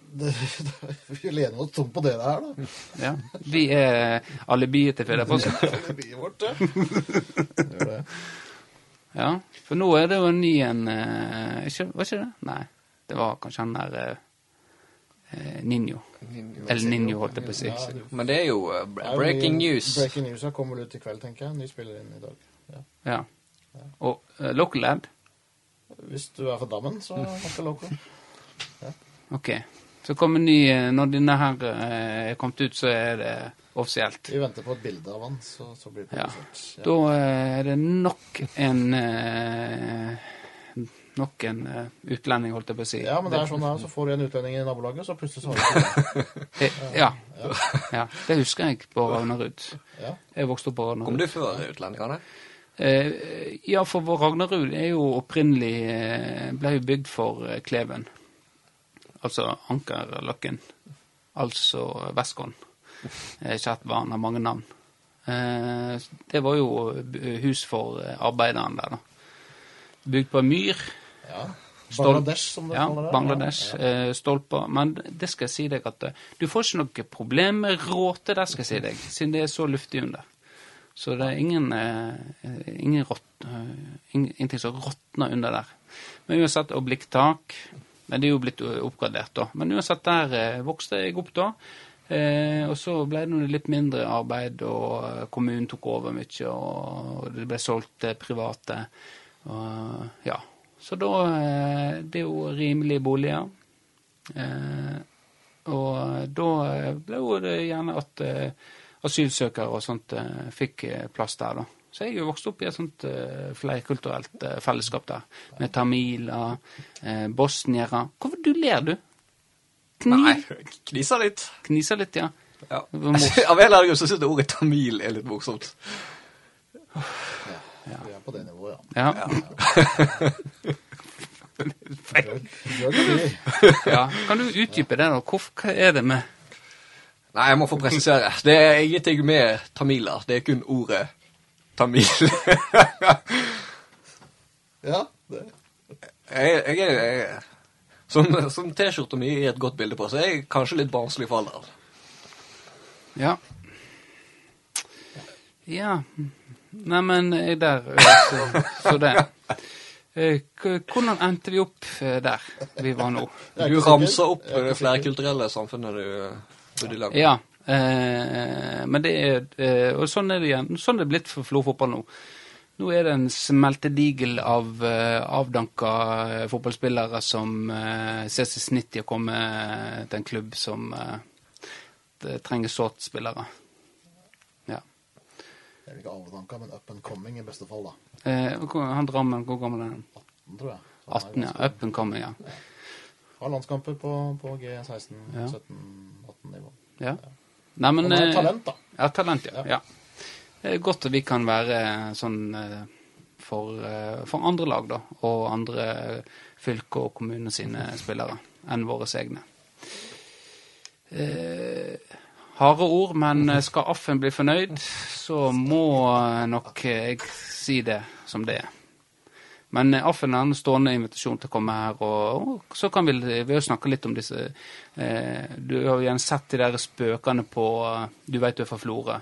Det, <laughs> det, vi lener oss tom på det der, da.
Ja. Vi er alibiet til
<laughs>
Fedreposten.
Det blir vårt, det. Gjør det.
Ja, for nå er det jo en ny en eh, ikke, Var ikke det? Nei. Det var kanskje han der eh, eh, Ninjo. El Ninjo, holdt jeg på å si.
Ja, det-
Men det er jo eh,
Det er jo
breaking
mye-
news.
Breaking news ja, kommer vel ut i kveld, tenker jeg. Ny spiller inn i dag. Ja.
Ja. Og eh, Local Lad?
Hvis du er fra Dammen, så er det loco.
Ok. Så kommer ny eh, Når denne her eh, er kommet ut, så er det offisielt.
Vi venter på et bilde av han, så, så blir det
Ja.
produsert.
Da eh, er det nok en eh, Nok en eh, utlending, holdt jeg på å si.
Ja. ja, men det er sånn det er. Så får du en utlending i nabolaget, så plutselig så har du
Eh, ja. ja. Det husker jeg på Ragnarud.
ja.
Jeg vokste opp på Ragnarud.
Kom du før utlendingene?
Eh, ja, for vår Ragnarud er jo opprinnelig eh, ble jo bygd for eh, Kleven. Altså Ankerløkken. Altså Vestkorn. Eh, Kjært barn har mange navn. Eh, det var jo b- hus for eh, arbeideren der, da. Bygd på en myr.
ja.
Stol-
Bangladesh, som det
Ja,
kaller det.
Bangladesh. Eh, stolper. Men det skal jeg si deg at eh, du får ikke noe problem med råte der, skal jeg si deg, siden det er så luftig under. Så det er ingen, eh, ingen rått, eh, ing- ingenting som råtner under der. Men uansett, og blikktak Men det er jo blitt eh, oppgradert, da. Men uansett, der eh, vokste jeg opp da. Eh, og så ble det noe litt mindre arbeid, og eh, kommunen tok over mye, og, og det ble solgt til private. Og, ja. Så da eh, Det er jo rimelige boliger. Eh, og da eh, ble jo det gjerne at eh, asylsøkere og sånt eh, fikk eh, plass der, da. Så jeg er jo vokst opp i et sånt eh, flerkulturelt eh, fellesskap der. Med tamiler, eh, bosniere Hvorfor du ler, du? Kni,
Nei, knisa litt.
Kniser litt, ja.
Ja.
Det var morsomt.
<laughs> Av en eller annen grunn så syns jeg ordet tamil er litt morsomt.
Ja. Vi er på det nivået, ja.
Ja.
Gjør- gjør det vi.
ja. Kan du utdype det, da? Hvorfor, hva er det med
Nei, jeg må få presisere. Det er ingenting med tamiler. Det er kun ordet tamil. jeg, <laughs>
Ja, det.
jeg, er- jeg, Som, som T-skjorta mi gir et godt bilde på, så jeg er kanskje litt barnslig for alderen.
Ja. Ja. Neimen, jeg der eh, så, så det. Eh, k- Hvordan endte vi opp eh, der vi var nå?
Jeg er
Du
ikke sikker.
ramser opp
Jeg er
det
ikke sikker.
flerkulturelle samfunnet du bodde i lag med.
Ja. eh, men det er eh, Og sånn er det igjen. Sånn er det blitt for Florfotball nå. Nå er det en smeltedigel av eh, avdanka eh, fotballspillere som eh, ser seg snitt i å komme eh, til en klubb som eh, det trenger sårt spillere. Ja.
Jeg vil ikke avdanka, men up and coming i beste fall, da.
Eh, og hvor- han Drammen, hvor gammel er han?
Den tror jeg.
18,
Den er
ja. Up and coming, ja.
ganske- Har landskamper på, på G16,
Ja.
17, 18-nivå.
ja. Nei, men
Han har
eh,
talent, da.
Ja, talent, ja.
Ja.
ja. Det er godt at vi kan være eh, sånn eh, for, eh, for andre lag, da, og andre eh, fylker og kommuner sine spillere enn våre egne. Eh, harde ord, men eh, skal Affen bli fornøyd, så må eh, nok eh, jeg si det som det er. Men eh, Affen har en stående invitasjon til å komme her, og, og så kan vi, vi har snakket litt om disse eh, Du har jo gjerne sett de der spøkene på eh, Du vet du er fra Florø.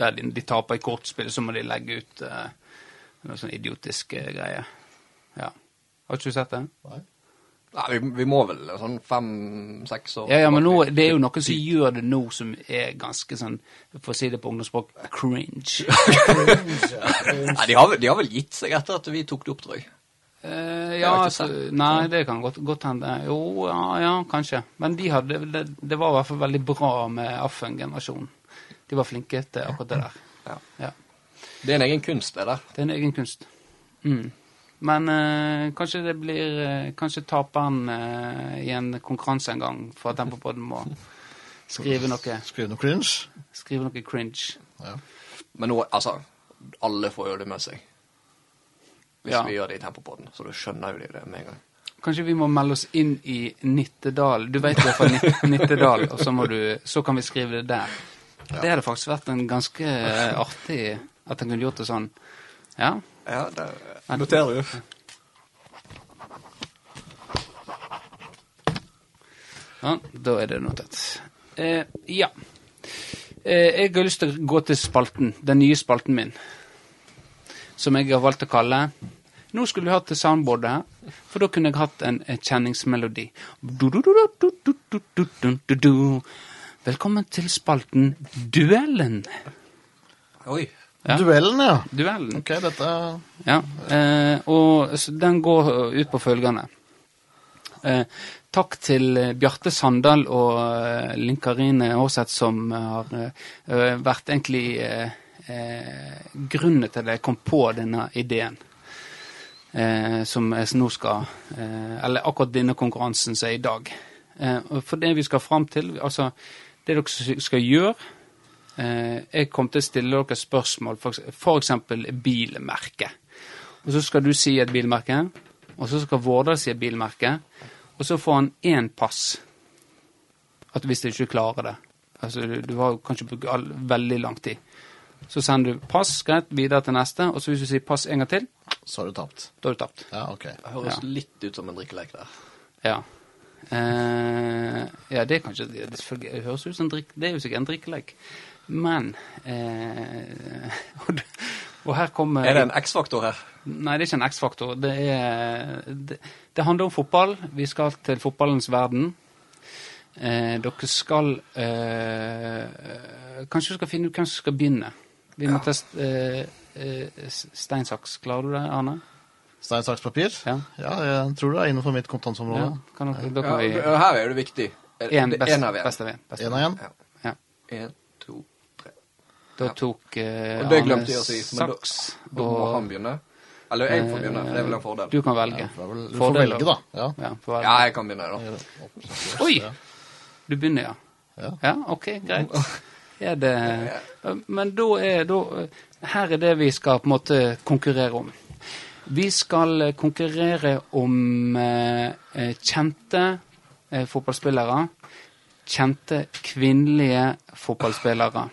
Der de, de taper i kortspill, så må de legge ut eh, noe sånn idiotisk eh, greie. Ja. Har ikke du sett det?
Nei.
Nei, vi, vi må vel sånn fem-seks år
Ja, ja, men nå,
tilbake.
det er jo noen som gjør det nå som er ganske sånn, for å si det på ungdomsspråk, cringe.
Cringe, ja. Cringe.
Nei, de har, vel- de har vel gitt seg etter at vi tok det opp, tror jeg.
Eh,
har
ja,
jeg ikke
altså,
sett.
nei, det kan godt, godt hende. Jo, ja, ja, kanskje. Men de hadde, det, det var i hvert fall veldig bra med Affen-generasjonen. De var flinke til akkurat det der.
Ja.
Ja.
Det er en egen kunst, det der.
Det er en egen kunst. Mm. Men eh, kanskje det blir eh, Kanskje taperen eh, i en konkurranse en gang for at Tempopodden
<laughs>
må skrive noe,
Skriv noe cringe.
skrive noe cringe.
Ja.
Men nå, altså, alle får jo det med seg. Hvis
Ja.
vi gjør det i Tempopodden, så da skjønner jo de det med en gang.
Kanskje vi må melde oss inn i Nittedal. Du vet i hvert fall Nit- Nittedal, og så, må du, så kan vi skrive det der. Det hadde faktisk vært en ganske eh, artig at en kunne gjort det sånn. Ja.
Ja, det noterer du.
ja da er det notert. Eh, ja. Eh, jeg har lyst til å gå til spalten. Den nye spalten min. Som jeg har valgt å kalle Nå skulle vi hatt det soundboardet her, for da kunne jeg hatt en eh, kjenningsmelodi. Du-du-du-du-du-du-du-du-du-du. Velkommen til spalten Duellen.
Oi.
Ja.
Duellen, ja.
Duellen.
Ok, dette er
Ja, eh, og s- den går eh, ut på følgende. Eh, takk til eh, Bjarte Sandal og eh, Linn Karine Aarseth, som har eh, eh, vært egentlig eh, eh, grunnen til at jeg kom på denne ideen. Eh, som jeg s- nå skal eh, Eller akkurat denne konkurransen som er i dag. Eh, og for det vi skal fram til Altså, det dere s- skal gjøre Eh, jeg kommer til å stille dere spørsmål, f.eks. bilmerke. Og så skal du si et bilmerke, og så skal Vårdal si et bilmerke. Og så får han én pass. At hvis du ikke klarer det Altså, du, du har jo kanskje brukt all, veldig lang tid. Så sender du pass, greit, videre til neste. Og så hvis du sier pass en gang til,
Så har du tapt.
da har du tapt.
Ja, OK.
Det høres
Ja.
litt ut som en drikkelek der.
Ja. Eh, ja, det er kanskje det, det følge- det høres ut som en drikk, Det er jo sikkert en drikkelek. Men eh, <laughs> og, d- og her kommer
Er det en X-faktor her?
Nei, det er ikke en X-faktor. Det, er- det, det handler om fotball. Vi skal til fotballens verden. Eh, dere skal eh, eh, Kanskje du skal finne ut hvem som skal begynne. Vi må teste eh, eh, s- Stein, saks. Klarer du det, Arne?
Stein, saks, papir?
Ja.
jeg tror det er innenfor mitt kompetanseområde.
Kan dere, da
Ja,
kan vi
her er det viktig. Er-
En
det-
best,
en av en.
best av en. Best av
Én av én.
Ja.
Ja.
En, to, tre.
Da tok eh,
Og det
Arne
glemte jeg å si, men da-
saks
Da må han begynne. Eller jeg får begynne, for det er vel en fordel.
Du kan velge.
Du får vel- Du får
Fordel,
velge, da. Ja.
Ja, får velge.
Ja, jeg kan begynne, da.
Oi!
Ja.
Du begynner, ja.
Ja.
Ja, OK,
<laughs>
greit. Er det Men da er da Her er det vi skal på en måte konkurrere om. Vi skal eh, konkurrere om eh, eh, kjente eh, fotballspillere. Kjente kvinnelige fotballspillere.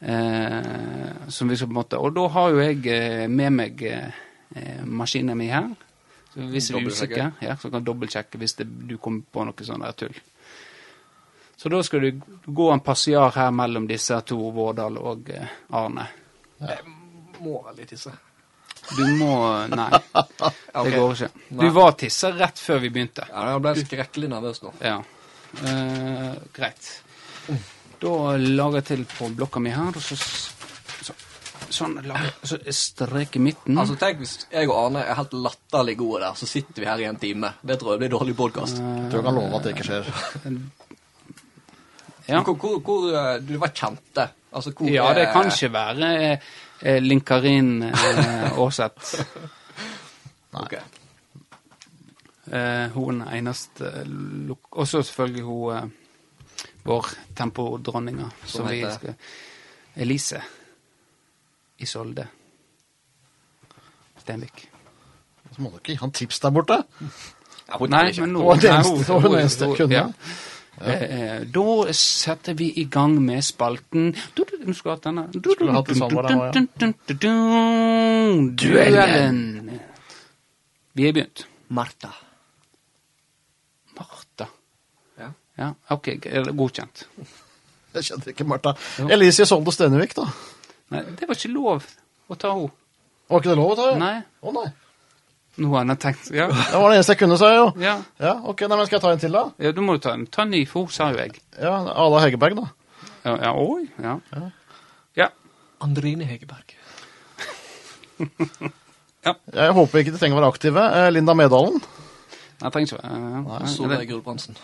Eh, som vi skal på en måte Og da har jo jeg eh, med meg eh, eh, maskinen min her. Hvis vi er usikre,
Dobbeltsjekke.
ja, så kan du dobbeltsjekke hvis det, du kommer på noe sånn der tull. Så da skal du gå en passiar her mellom disse to, Vårdal og eh, Arne.
Må vel litt tisse.
Du må
<laughs>
Nei,
Ok.
det går ikke. Du
Nei.
var tissa rett før vi begynte.
Ja, jeg ble skrekkelig nervøs nå.
Ja. Eh, greit. Da lager jeg til på blokka mi her, og så, så Sånn. Lager, så strek i midten.
Altså, tenk hvis jeg og Arne er helt latterlig gode der, så sitter vi her i en time. Det tror jeg blir dårlig
Eh,
podkast.
Jeg tror jeg kan love at det ikke skjer.
ja.
Hvor, hvor, hvor eh, Du var kjente. Altså, hvor
ja, det
er-
kan ikke være eh, Linkarin eh, Aarseth.
Ok.
Eh, hun eneste eh, lok... Også selvfølgelig hun eh, vår tempodronninga, som, vi
heter?
skal Elise Isolde Stenvik.
Så må du ikke gi han tips der borte.
Ja, hun
Nei,
ikke.
men nå
Det var det
nei,
eneste-
hun-
det var det
hun-
eneste jeg
hun-
kunne.
ja. Eh, eh, Da setter vi i gang med spalten Du, du, Nå skulle jeg hatt denne Du, du,
Skulle hatt det samme der nå, ja.
du, du, du, du, Duellen. Vi har begynt.
Martha.
Martha.
Ja.
Ja, OK, g- eller godkjent.
Jeg kjenner ikke Martha. Elise Solde Stenevik, da.
Nei, det var ikke lov å ta henne.
Var ikke det lov å ta? ja?
Nei.
Å nei.
Nå har jeg tenkt Ja,
Det var det eneste jeg kunne, sa jeg jo.
ja.
Ja, ok, nei, men Skal jeg ta en til, da?
ja du må jo ta en. Ta en ny, for hun sa jo jeg.
Ja, Ala Hegerberg, da.
Ja, ja, oi, ja. Ja.
Andrine Hegerberg.
Jeg håper ikke de trenger å være aktive. Eh, Linda Medalen.
Jeg trenger ikke være ja, ja.
Solveig Gulbrandsen.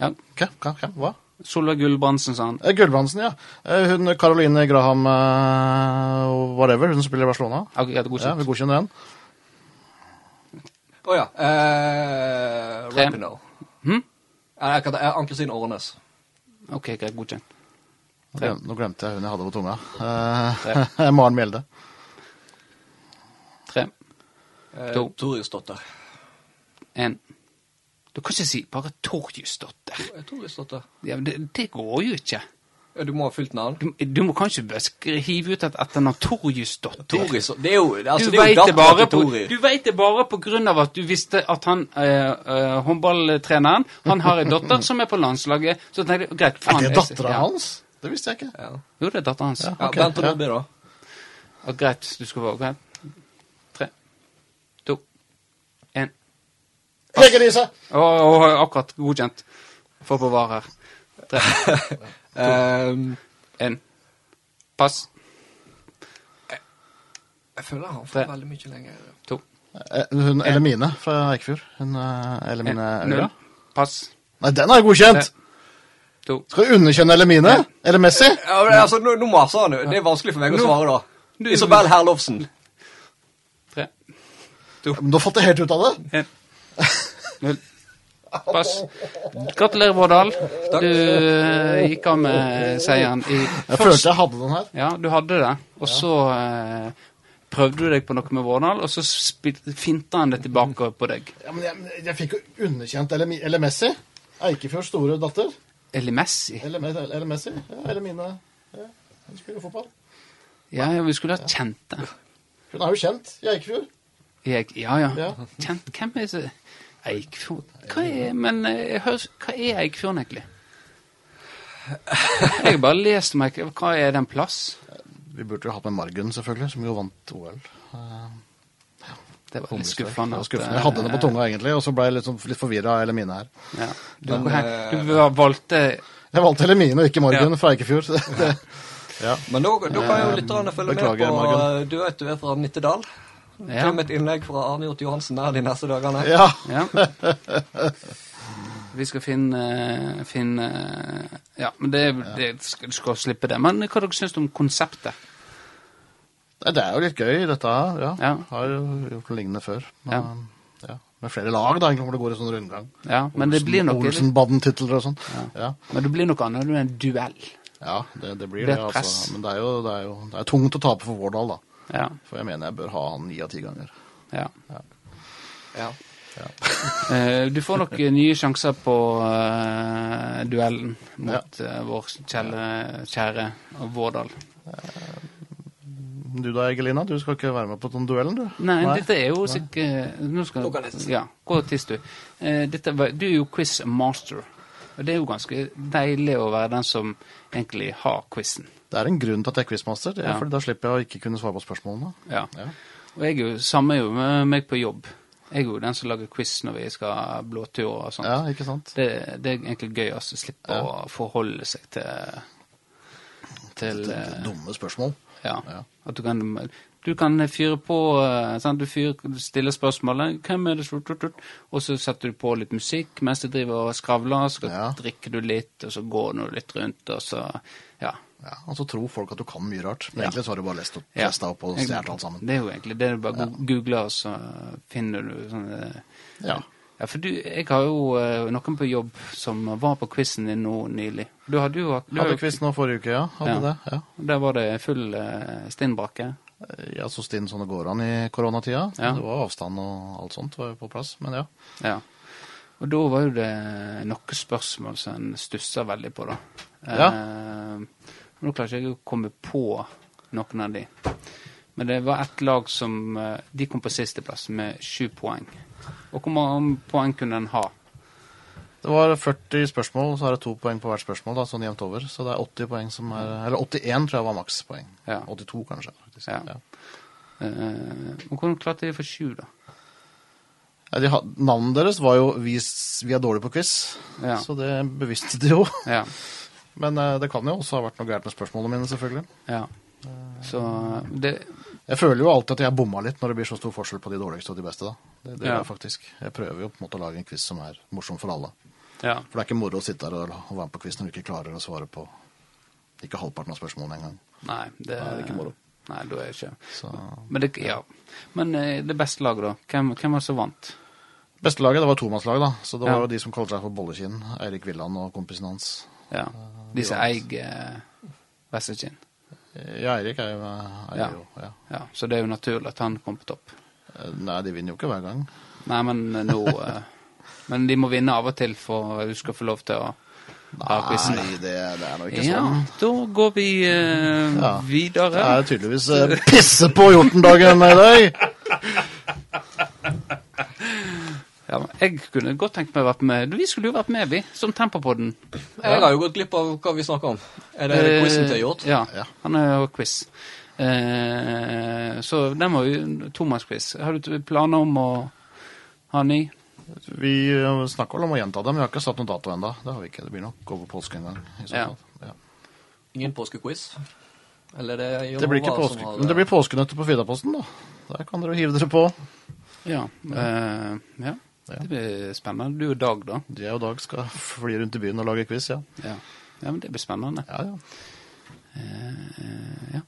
Ja,
Hva? Hva? Hva? Hva?
Solveig Gulbrandsen, sa han.
Eh, Gulbrandsen, ja. Eh, Hun Caroline Graham eh, whatever, hun som spiller i Barcelona.
Ok, greit,
Ja, vi
godkjent.
godkjenner den.
Å ja. Eh,
Tre.
Rapinoe.
Hm?
Ja, jeg kan ta- eh, Ann-Kristin Årnes.
Ok, greit, godkjent.
Nå
Tre.
glem- Nå glemte jeg hun jeg hadde på tunga. Eh, <laughs> Maren Mjelde.
Tre,
Eh,
To.
Torjusdotter.
én. Du kan ikke si bare Torjusdotter.
Eh, Torjusdotter.
Ja, men det, det går jo ikke.
Ja, du må ha fullt navn.
Du, du må kanskje bare skri- hive ut et etternavn Torjusdotter.
Toris, det er jo altså,
Du
det er jo
vet det,
datteren
bare
til
på,
Tori.
du vet det bare på grunn av at du visste at han, eh, eh, håndballtreneren, han har en datter som er på landslaget. Så tenkte jeg, greit,
Er
faen.
det
jeg-
dattera
ja.
hans? Det visste jeg ikke.
Ja.
Jo, det er datteren hans.
Ja.
Ja.
Ja,
Ok,
Bent
ja.
Rubbe, da.
greit, du skal være greit. Tre, to, én.
Hege-Lise!
Og, og akkurat godkjent. Få på var her. Tre,
Ehm,
en. Pass.
jeg føler han får
Tre.
veldig mye lenger.
To.
Eh, Hun Elimine fra Eikefjord. Hun eh,
En,
Elimine
null.
Øya.
Pass.
Nei, den er godkjent!
To.
Skal du underkjønne Elimine? Eller Messi?
Ja, men, altså, nå, nå maser han jo. Det er vanskelig for meg å
Nå-
svare da.
Du-
Isabel Herlovsen.
Tre.
Men du har fått det helt ut av det.
En. Null. Pass. Gratulerer, Vårdal. Du eh, gikk av med seieren i
Jeg
første
følte jeg hadde den her.
Ja, du hadde det. Og så eh, prøvde du deg på noe med Vårdal, og så spil- finta han det tilbake på deg.
Ja, men jeg, men jeg fikk jo underkjent Elemi- eller Messi. Eikefjords store datter.
Eller Messi.
Eller, Me- eller Messi. Ja, eller mine ja, Hun spiller fotball.
Ja, ja, vi skulle ha kjent det.
Hun er jo kjent i Eikefjord.
Jeg, ja, ja.
Ja.
Kjent, hvem er det? Eikfjord? Hva er, men eh, hør, hva er Eikfjorden egentlig? Jeg har bare lest om Eikfjorden. Hva er den plass?
Vi burde jo hatt med Margunn, selvfølgelig, som jo vant OL.
Det var litt
Det
skuffende.
var
at,
skuffende. Jeg hadde henne på tunga, egentlig, og så ble jeg litt, sånn- litt forvirra av Elimine her.
eh, Ja. Du,
Men,
hva-
eh,
du valgte
Jeg valgte Elimine og ikke Margunn
Ja.
fra Eikefjord. <laughs> så Det, ja.
Men da, da kan jo lytterne følge
beklager,
med på
Margunn.
eh, Du vet du er fra Nittedal.
Ja.
Kom et innlegg fra Arne Hjort Johansen der de neste dagene.
ja.
Ja. <laughs> Vi skal finne, finne Ja, men det, det skal, du skal slippe det. Men hva dere syns om konseptet?
Nei, Det er jo litt gøy, dette her. Ja.
Ja.
Har jo gjort noe lignende før. Men,
Ja.
ja. Med flere lag, da, egentlig, hvor det går i sånn rundgang.
Ja, men det blir nok
Olsenbaden-titler og sånn. Ja.
Men det blir noe annet enn en duell.
ja, det, det blir
Det
det,
er press.
altså. Men det er jo, det er jo det er tungt å tape for Vårdal, da.
Ja.
For jeg mener jeg bør ha han ni av ti ganger.
ja.
Ja.
Eh, Du <laughs> får nok nye sjanser på eh, duellen mot eh, vår kjære, kjære Vårdal.
Du da, Egelina, du skal ikke være med på den duellen, du?
Nei, dette er jo sikkert eh, Nå skal
Klokka er nesten.
Ja, hvor tiss du? Eh, dette, var- du er jo quiz master. Og det er jo ganske deilig å være den som egentlig har quizen.
Det er en grunn til at jeg er quizmaster, det er
Ja.
fordi da slipper jeg å ikke kunne svare på spørsmålene.
Ja.
Ja.
Og jeg er jo samme er jo med meg på jobb. Jeg er jo den som lager quiz når vi skal ha blåtur og sånt.
Ja, ikke sant?
Det, det er egentlig gøy altså, å slippe å forholde seg til, til
Det
eh,
er dumme spørsmål.
Ja.
Ja.
At du kan, du kan fyre på eh, sant? Du fyr, stiller spørsmålet 'Hvem er det?' som- tut, tut, Og så setter du på litt musikk mens du driver og skravler. Så
Ja.
drikker du litt, og så går du litt rundt, og så Ja.
Ja, og så tror folk at du kan mye rart, men egentlig så har du bare lest opp,
ja.
lest deg opp og
Jeg-
stjålet alt sammen.
Det er jo egentlig det du bare go- googler, og så finner du sånne
Ja.
ja, for du, jeg har jo eh, noen på jobb som var på quizen din nå nylig. Du hadde jo du har
Hadde
jo-
quiz nå forrige uke, ja. Hadde
Ja.
det, ja.
Der var det full uh, stinnbrakke.
Ja, så stinn som det går an i koronatida.
Ja.
Det var avstand og alt sånt var jo på plass, men ja.
Ja. Og da var jo det noen spørsmål som en stussa veldig på, da.
Ja.
Eh, nå klarer ikke jeg å komme på noen av de. Men det var ett lag som eh, De kom på sisteplass med sju poeng. Og hvor mange poeng kunne en ha?
Det var 40 spørsmål, så er det to poeng på hvert spørsmål, da, sånn jevnt over. Så det er 80 poeng som er Eller 81 tror jeg var makspoeng.
Ja.
82 kanskje, faktisk.
Ja.
Ja.
Eh, og hvordan klarte de for sju, da?
Ja, de had, navnet deres var jo vi, s- 'Vi er dårlige på quiz',
Ja.
så det bevisste de jo. <laughs>
Ja.
Men eh, det kan jo også ha vært noe gærent med spørsmålene mine, selvfølgelig.
ja. Så eh, det
Jeg føler jo alltid at jeg bomma litt når det blir så stor forskjell på de dårligste og de beste, da. Det, det
Ja.
gjør jeg faktisk. Jeg prøver jo på en måte å lage en quiz som er morsom for alle.
Ja.
For det er ikke moro å sitte her og, og være med på quiz når du ikke klarer å svare på ikke halvparten av spørsmålene engang.
Nei, det,
Da er det ikke moro.
Nei, da er det ikke
Så
Men det, ja. Men eh, det beste laget, da? Hvem, hvem var det som vant?
Beste laget, det var tomannslag, da. Så det
Ja.
var jo de som kalte seg for Bollekinn. Eirik Villand og kompisen hans.
Ja. De som eier eh, Vestekinn.
Ja, Eirik er jo, er
Ja.
jo ja.
Ja, så det er jo naturlig at han kom på topp.
Eh, Nei, de vinner jo ikke hver gang.
Nei, men nå
<laughs>
eh, Men de må vinne av og til for at du skal få lov til å ha quizen.
Nei, det, det er nå ikke
Ja,
sånn.
da går vi eh,
Ja. Det
videre.
er tydeligvis eh, pisse på Hjortendagen i dag!
Ja, men jeg kunne godt tenkt meg å vært med. Vi skulle jo vært med, vi, som Tempopodden.
Jeg har jo gått glipp av hva vi snakker om. Er det
Eh,
quizen til Hjort?
Ja,
Ja.
han er jo quiz. Eh, så den var jo tomannsquiz. Har du planer om å ha ny?
Vi eh, snakker vel om å gjenta det, men vi har ikke satt noen dato ennå. Det har vi ikke. Det blir nok over påske en gang. I så
Ja.
fall. Ja.
Ingen påskequiz? Eller er det
Det blir ikke
Jonova som
påske,
har
men det blir påskenøtter på Fidaposten, da. Der kan dere jo hive dere på.
Ja. eh, ja.
Ja.
Det blir spennende. Du og Dag, da.
De og Dag skal fly rundt i byen og lage quiz, ja.
Ja, ja men det blir spennende.
Ja, ja.
Eh, ja.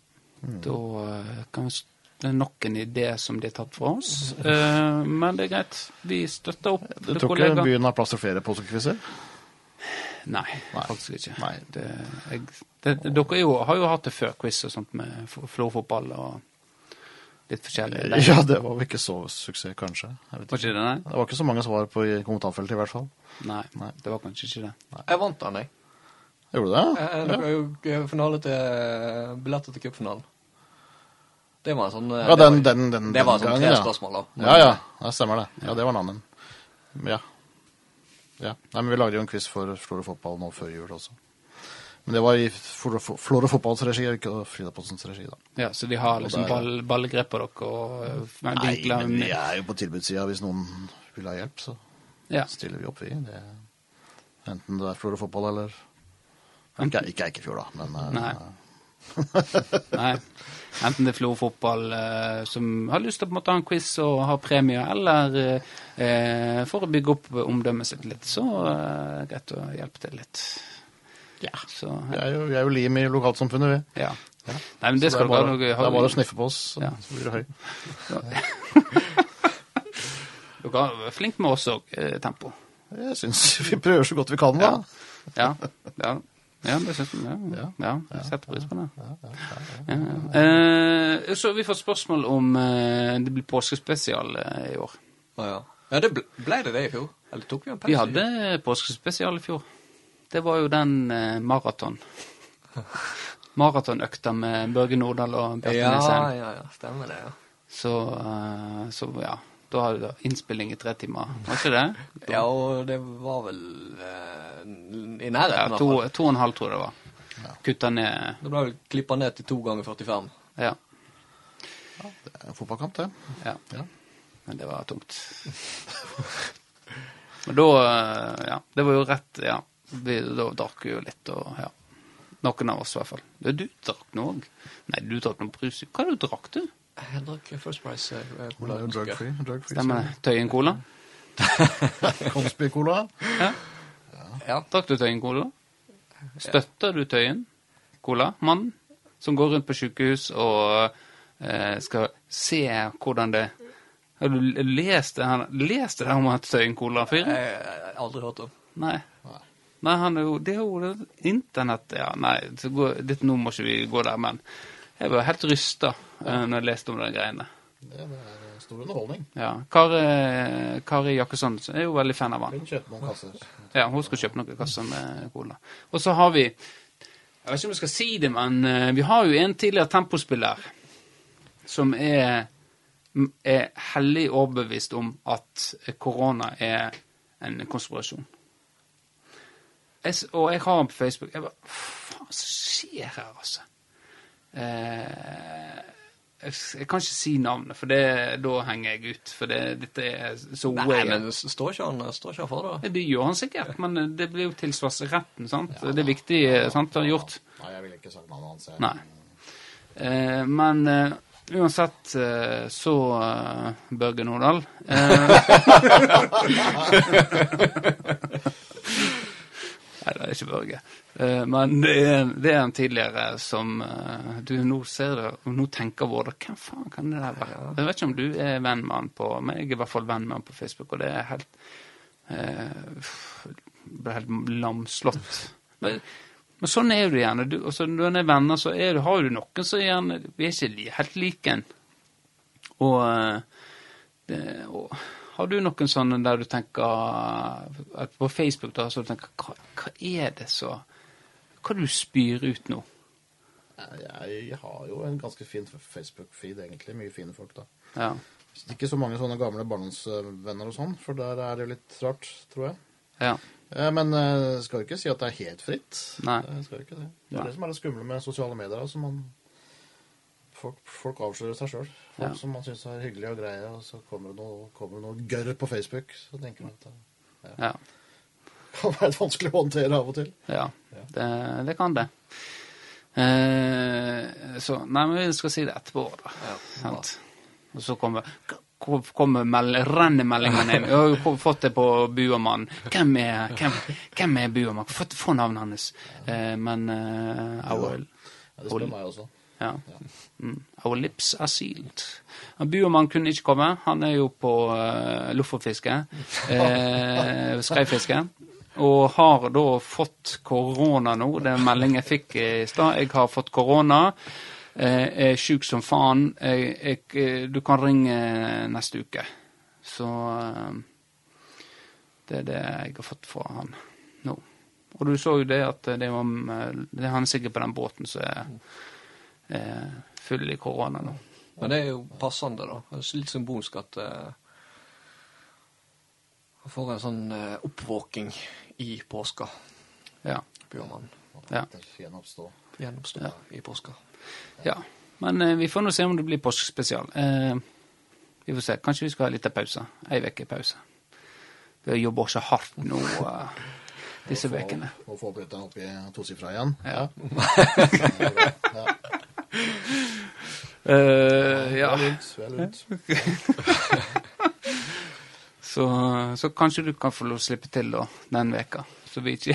Mm.
Da eh, kan vi s- det er nok en idé som de har tatt fra oss.
Mm.
Eh, men det er greit. Vi støtter opp.
Du
til
tror ikke
kollegaer.
byen har plass til flere påskequizer?
Nei,
Nei.
faktisk ikke.
Nei.
Det, jeg, det, det, dere er jo, har jo hatt det før, quiz og sånt med f- florfotball og litt forskjellig. Det
Eh, <laughs> Ja, det var vel ikke så suksess, kanskje. Jeg vet
Var ikke
ikke.
det, nei?
Det var ikke så mange svar på i kommentarfeltet, i hvert fall.
nei?
Nei.
det var kanskje ikke det.
Jeg vant den, jeg.
Gjorde du det?
Eh, Det var jo finale til eh, billetter til cupfinalen. Det var en sånn eh,
Ja,
det
den,
var-
den, den,
Det var
den
sånn
gangen,
tre
ja.
spørsmål, da.
Ja, ja. Det stemmer det. Ja, det var navnet. Ja. ja. Nei, men vi lagde jo en quiz for Flor og Fotball nå før jul også. Men det var i Flor og, Flor og Fotballs regi, og ikke Fridapostens regi, da.
Ja, Så de har liksom
der-
ball, ballegrep på dere og eh,
Nei,
vinkler
men vi er jo på tilbudssida hvis noen vil ha hjelp, så
ja.
stiller vi opp, vi. Det, enten det er Flor og Fotball eller Ikke, ikke Eikefjord, da, men eh,
Nei. Nei. Enten det er Florø fotball eh, som har lyst til å på en måte ha en quiz og ha premie, eller eh, eh, for å bygge opp omdømmet sitt litt, så eh, greit å hjelpe til litt. Ja. Så, eh,
vi er jo, vi er jo lim i lokalsamfunnet, vi.
ja. Nei, men det
Så
skal dere
er bare,
ha noe
det er bare å sniffe på oss, så
Ja.
så blir det høy.
Dere er flinke med oss òg, eh, tempo.
Jeg syns vi prøver så godt vi kan, da.
Ja. ja. Ja, det syns jeg. Ja, ja, jeg setter pris på det. Ja, ja. Eh, så vi får spørsmål om eh, det blir påskespesial eh, i år.
Ja, ja. ja det ble, ble det det i fjor? Eller tok vi en pause?
Vi hadde påskespesial i fjor. Det var jo den eh, maraton. maratonøkta med Børge Nordahl og Bjarte
Ja,
Nesheim.
ja, ja, stemmer det, ja.
Så, eh, så ja. Da har du da innspilling i tre timer, var ikke det?
Ja, og det var vel eh, i
Ja,
nærheten, i hvert fall.
to, to og en halv, tror jeg det var. Kutta ned
Det ble vel klippa ned til to ganger 45.
Ja.
Det er en fotballkamp, det.
ja.
Ja.
Men det var tungt. <laughs> Men da eh, Ja, det var jo rett Ja. Vi, da drakk vi jo litt, og ja. Noen av oss, i hvert fall. Ja, Du drakk noe òg. Nei, du drakk noe brus. Hva du drakk du?
Jeg drakk First Price eh,
Hun
cola.
er jo
husker jeg.
drug-free. Drug
Stemmer det. Tøyen Cola?
Consby-cola.
Ja.
Drakk du Tøyen Cola? Støtter du Tøyen Cola? Mannen som går rundt på sykehus og eh, skal se hvordan det Har du lest det, han, lest det der om at Tøyen Cola-fyren?
Jeg har Eh, aldri hørt om.
Nei. Nei, han er jo, det er jo det- internett Ja, nei, så gå, litt, nå må ikke vi gå der, men jeg var helt rysta eh, når jeg leste om de greiene.
Det er stor underholdning.
Ja. Kari, eh, Kari Jakkesson er jo veldig fan av han.
Hun kjøper noen kasser.
Ja, hun skal kjøpe noen kasser med cola. Og så har vi Jeg vet ikke om jeg skal si det, men eh, vi har jo en tidligere tempospiller som er, m- er hellig overbevist om at eh, korona er en konspirasjon. Jeg, s- og jeg har han på Facebook. Jeg bare Faen, hva skjer her, altså? Eh, jeg, s- jeg kan ikke si navnet, for det, da henger jeg ut. For det, dette er så
Nei,
way
men s- står ikke han, står ikke han for det?
det gjør han sikkert, men det blir jo tilsvarsretten, sant? det er viktig, eh, sant, han har gjort.
Nei, jeg ville ikke sagt navnet hans. jeg.
Nei. Eh, men eh, uansett eh, så eh, Børge Nordahl eh, <laughs> Nei, det er ikke Børge. Eh, men det er, det er en tidligere som eh, Du, nå ser det, og nå tenker Vårdal Hvem faen kan det der være? Jeg vet ikke om du er venn med han på Men jeg er i hvert fall venn med han på Facebook, og det er helt eh, f- ble helt lamslått. Men, men sånn er du gjerne. Du, altså, når en er venner, så er du, har du noen som gjerne Vi er ikke li, helt like en. Og, eh, det, og har du noen sånne der du tenker at På Facebook, da, så du tenker Hva, hva er det så Hva er det du spyr ut nå?
Jeg har jo en ganske fin Facebook-feed, egentlig. Mye fine folk, da.
Ja.
Ikke så mange sånne gamle barndomsvenner og sånn, for der er det jo litt rart, tror jeg.
ja.
Eh, Men eh, skal jo ikke si at det er helt fritt.
Nei.
Eh, Skal jo ikke det. det
Nei.
er det som er det skumle med sosiale medier. Altså man, folk, folk avslører seg sjøl. Folk
Ja.
som man syns er hyggelige og greie, og så kommer det noe, kommer det noe gørr på Facebook. Så tenker man at det
ja.
kan være litt vanskelig å håndtere av og til.
Ja, det, det kan det. Eh, så Nei, men vi skal si det etterpå, da. Sant? Og så kommer, ko- kommer mel rennemeldingen inn. Vi har jo ko- fått det på Buamann. Hvem er, hvem, hvem er Buamann? Få, få navnet hans. Eh, men eh, our,
Ja, det spør
Hold-
meg også.
ja. Mm, our lips are sealed. Ja, Buamann kunne ikke komme. Han er jo på uh, lofotfiske. Eh, skreifiske. Og har da fått korona nå. Det er en melding jeg fikk eh, i stad. Jeg har fått korona. Eh, er sjuk som faen. Jeg, jeg, eh, du kan ringe neste uke. Så eh, det er det jeg har fått fra han nå. Og du så jo det at det var eh, det er Han er sikkert på den båten som er eh, full i korona nå.
Men det er jo passende, da. Det er litt symbolsk at eh, han får en sånn eh, oppvåking i påska.
Ja.
Bjørnmann
Ja.
Det er Gjenoppstå.
gjennomstår i påska.
ja. Men eh, vi får nå se om det blir påskespesial. Eh, vi får se. Kanskje vi skal ha en liten pause. Ei uke pause. Vi jobber så hardt nå eh, disse ukene.
Må få opp litt opp i tosifra igjen.
Ja.
Ja,
Eh, <laughs> ja.
det er lurt, det er lurt.
Så, så kanskje du kan få lov å slippe til da, den veka. Så vi ikke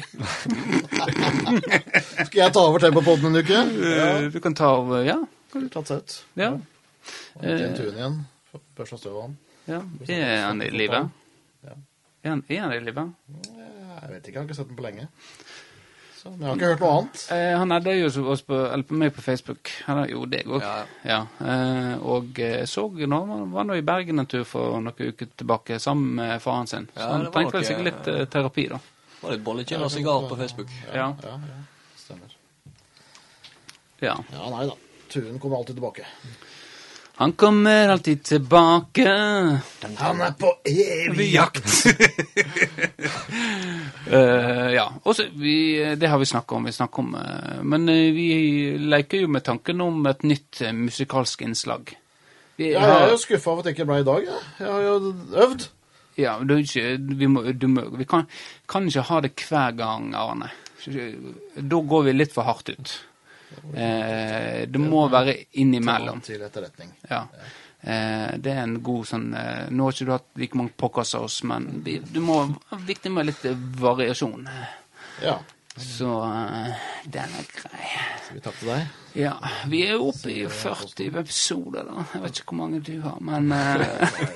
Skal jeg ta over tempopodden en uke? Ja,
Eh, <laughs> Du kan ta over Ja.
tatt seg ut.
ja.
Og
Eh.
en tur igjen. Børsta støv av han.
ja. Er han i live? Er han, er han i live?
Jeg vet ikke, jeg har ikke sett den på lenge. Så, men jeg har ikke hørt noe annet.
Eh, han hadde jo så- oss på, eller på meg på Facebook. Han hadde jo deg òg.
Ja.
Eh, og eh, så nå, han var nå i Bergen en tur for noen uker tilbake sammen med faren sin. Så
Ja,
han
det var
trengte vel
noe-
sikkert litt eh, terapi, da.
Det var litt bollekinn og sigar på Facebook.
Ja.
Ja, ja, stemmer.
Ja.
Ja, nei da. Turen kommer alltid tilbake.
Han kommer alltid tilbake.
Han er på evig
<laughs>
jakt!
Eh, ja. Og så vi, eh, det har vi snakka om. Vi snakker om eh, men eh, vi leker jo med tanken om et nytt eh, musikalsk innslag. Vi,
Ja, jeg er jo skuffa over at det ikke ble i dag. Jeg, jeg har jo øvd.
Ja, men det er ikke, vi, må, du må, vi kan, kan ikke ha det hver gang, Arne. Da går vi litt for hardt ut. Eh, det må være innimellom.
Til etterretning.
Ja. Eh, det er en god sånn eh, Nå har ikke du hatt like mange podkaster som oss, men vi, du må være viktig med litt eh, variasjon.
Ja.
Så eh, den er grei.
Skal vi takke deg?
Ja, vi er oppe i 40 episoder, da. Jeg vet ikke hvor mange du har, men eh,
Nei,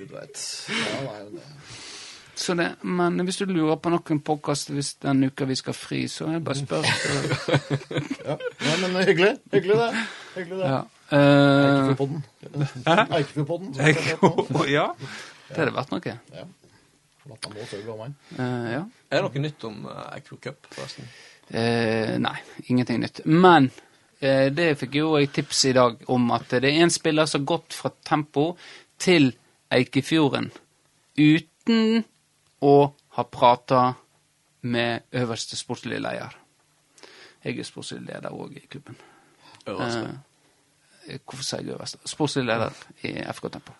Gud veit. Ja, nei, men det-
Så det, men hvis du lurer på noen podkast hvis den uka vi skal fri, så er det bare å spørre. så-
ja. Nei, men hyggelig. Hyggelig, det. Hyggelig det.
Ja. eh,
Eikefjordpodden. Eikefjordpodden. som vi skal prate om.
Å, Eh, <laughs> ja. Det hadde vært noe.
Ja. Forlatt han nå, så er det bra, meg.
Eh, ja.
Er det noe nytt om uh, Eikro Cup, forresten?
Eh, nei, ingenting nytt. Men eh, det fikk jo jeg tips i dag om at det er en spiller som har gått fra Tempo til Eikefjorden uten å ha prata med øverste sportslige leder. Jeg er sportslig leder òg i klubben.
Øverste.
Eh, hvorfor sier jeg øverste? Sportslig leder i FK Tempo.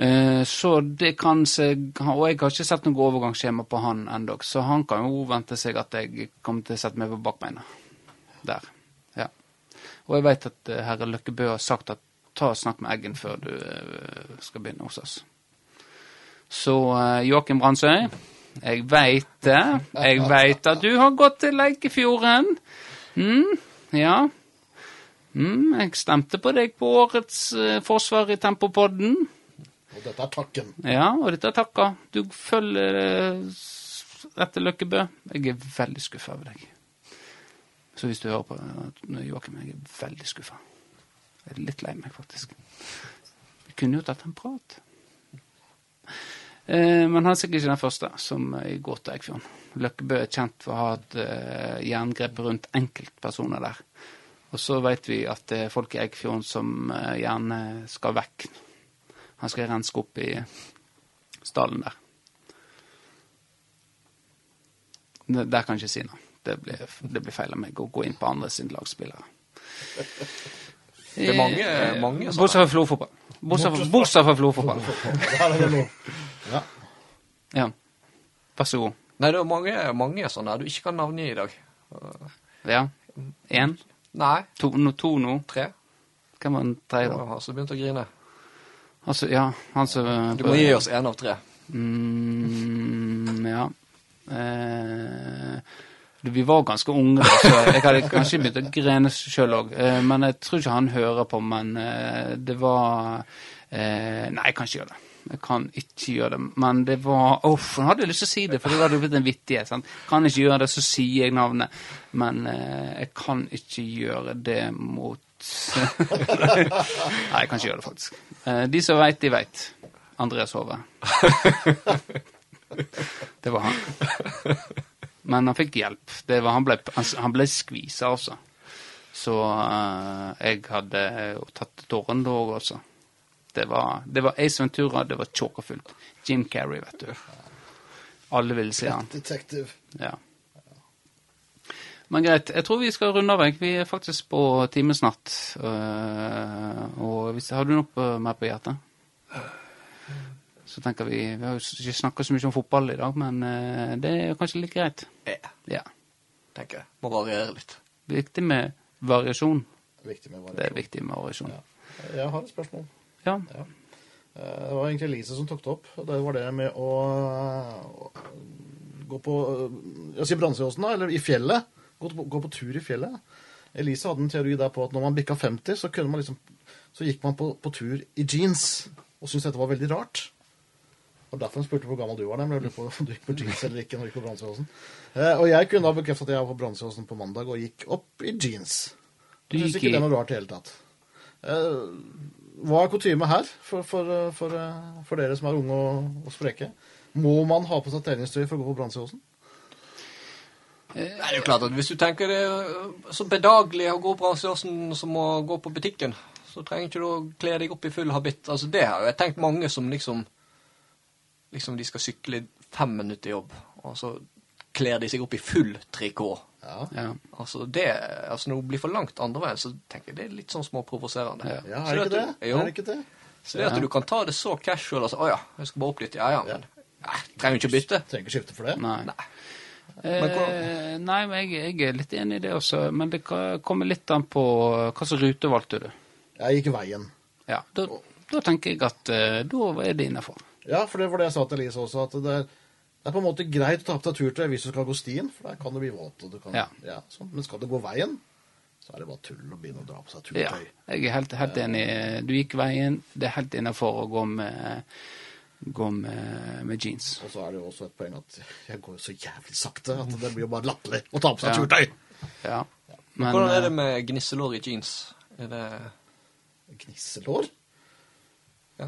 Eh, Så det kan seg, og jeg har ikke sett noe overgangsskjema på han ennå, så han kan jo vente seg at jeg kommer til å sette meg på bakbeina. Der. Ja. Og jeg veit at eh, herre Løkkebø har sagt at ta og snakk med Eggen før du eh, skal begynne hos oss. Så eh, Joakim Brandsøy, jeg veit det. Jeg veit at du har gått til Leikefjorden. Mm, ja. Mm, jeg stemte på deg på årets eh, forsvar i Tempopodden.
Og dette er takken.
Ja, og dette er takka. Du følger eh, s- etter Løkkebø. Jeg er veldig skuffa over deg. Så hvis du hører på eh, Joakim, jeg er veldig skuffa. Jeg er litt lei meg, faktisk. Vi kunne jo tatt en prat. Eh, men han er sikkert ikke den første som eh, går til Eikfjorden. Løkkebø er kjent for å ha et eh, jerngrep rundt enkeltpersoner der. Og så veit vi at det er folk i Eikfjorden som eh, gjerne skal vekk. Han skal renske opp i stallen der. Ne- Der kan jeg ikke si noe. Det blir, det blir feil av meg å gå inn på andre sine lagspillere.
Det er mange- mange sånne.
Eh, Bortsett fra Florfotball. Bortsett fra- Bortsett fra Florfotball.
Der er det noe. Ja.
Ja. Vær så god.
Nei, det er mange, mange sånne du ikke kan navngi i dag. Eh,
Ja. Én,
nei,
to, no, to nå.
tre.
Hvem var den tredje,
Jeg
da?
har også begynt å grine.
Altså, ja, han som
Du må gi oss én av tre.
Mm, ja. Eh, vi var ganske unge, da, så jeg hadde kanskje begynt å grene sjøl òg. Eh, men jeg tror ikke han hører på. Men eh, det var eh, Nei, jeg kan ikke gjøre det. Jeg kan ikke gjøre det. Men det var Uff, nå hadde jeg lyst til å si det, for det hadde jo blitt en vittighet. Sant? Kan ikke gjøre det, så sier jeg navnet. Men eh, jeg kan ikke gjøre det mot Nei, jeg kan ikke gjøre det, faktisk. Eh, de som veit, de veit. Andreas Hove. Det var han. Men han fikk hjelp. Det var, han ble, han, han ble skvisa, altså. Så eh, jeg hadde eh, tatt tårene da òg, altså. Det var, det var Ace Ventura, det var tjåkafullt. Jim Carrey, vet du. Alle ville se han.
Detektiv.
Ja. Men greit, jeg tror vi skal runde av. jeg. Vi er faktisk på time snart. Eh, og hvis, har du noe på- mer på hjertet? Så tenker vi Vi har jo s- ikke snakka så mye om fotball i dag, men eh, det er jo kanskje litt greit.
Eh,
Ja.
tenker jeg. Må variere litt.
Viktig med variasjon.
Viktig med
Det er
variasjon.
viktig med variasjon.
Jeg har et spørsmål.
Ja.
Eh, Det var egentlig Elise som tok det opp. og Det var det med å eh, gå på eh, Jeg sier Brandsøyåsen, da. Eller i fjellet. Gå, på- gå på tur i fjellet. Elise hadde en teori der på at når man bikka 50, så, kunne man liksom, så gikk man på, på tur i jeans. Og syntes dette var veldig rart. Og derfor hun spurte hvor gammel du var. Men jeg lurer på om du gikk på jeans eller ikke når du gikk på Brandsøyåsen. Eh, Og jeg kunne da bekrefte at jeg var på Brandsøyåsen på mandag og gikk opp i jeans.
Du
Jeg syns
gikk
ikke det
i
er noe rart i det hele tatt. Eh, hva er kutyme her, for, for, eh, for, eh, for dere som er unge og, og spreke? Må man ha på seg treningstøy for å gå på Brannsåsen?
Nei, det er jo klart at Hvis du tenker det er så bedagelig å gå på bransjeåsen som å gå på butikken, så trenger ikke du å kle deg opp i full habitt. Altså, Det har jeg tenkt mange som liksom Liksom de skal sykle fem minutter til jobb, og så kler de seg opp i full trikot.
Ja.
Ja.
Altså, det, altså Når det blir for langt andre veien, så tenker jeg det er litt sånn småprovoserende.
Ja.
ja,
Så
er det ikke
at du-
det?
Jo.
Er det ikke det?
Så det at du kan ta det så casual altså, 'Å ja, jeg skal bare opp dit.' Ja ja, men Nei, trenger jo ikke bytte.
Trenger ikke skifte for det.
Nei.
Nei.
Eh,
Men
nei, men jeg, jeg er litt enig i det også, men det ka- kommer litt an på eh, hva slags rute valgte du.
Jeg gikk veien.
Ja, da, da tenker jeg at eh, da er det innafor.
Ja, for det var det jeg sa til Elise også, at det er, det er på en måte greit å ta på deg turtøy hvis du skal gå stien, for der kan du bli våt. Og du kan,
Ja.
sånn. Men skal du gå veien, så er det bare tull å begynne å dra på seg
Ja,
turtøy.
jeg er helt, helt enig. Du gikk veien. Det er helt innafor å gå med, gå med, med jeans.
Og så er det jo også et poeng at jeg går jo så jævlig sakte at det blir jo bare latterlig å ta på
Ja.
seg turtøy.
Ja. Men,
Hvordan er det med gnisselår i jeans? Er det
Gnisselår.
Ja.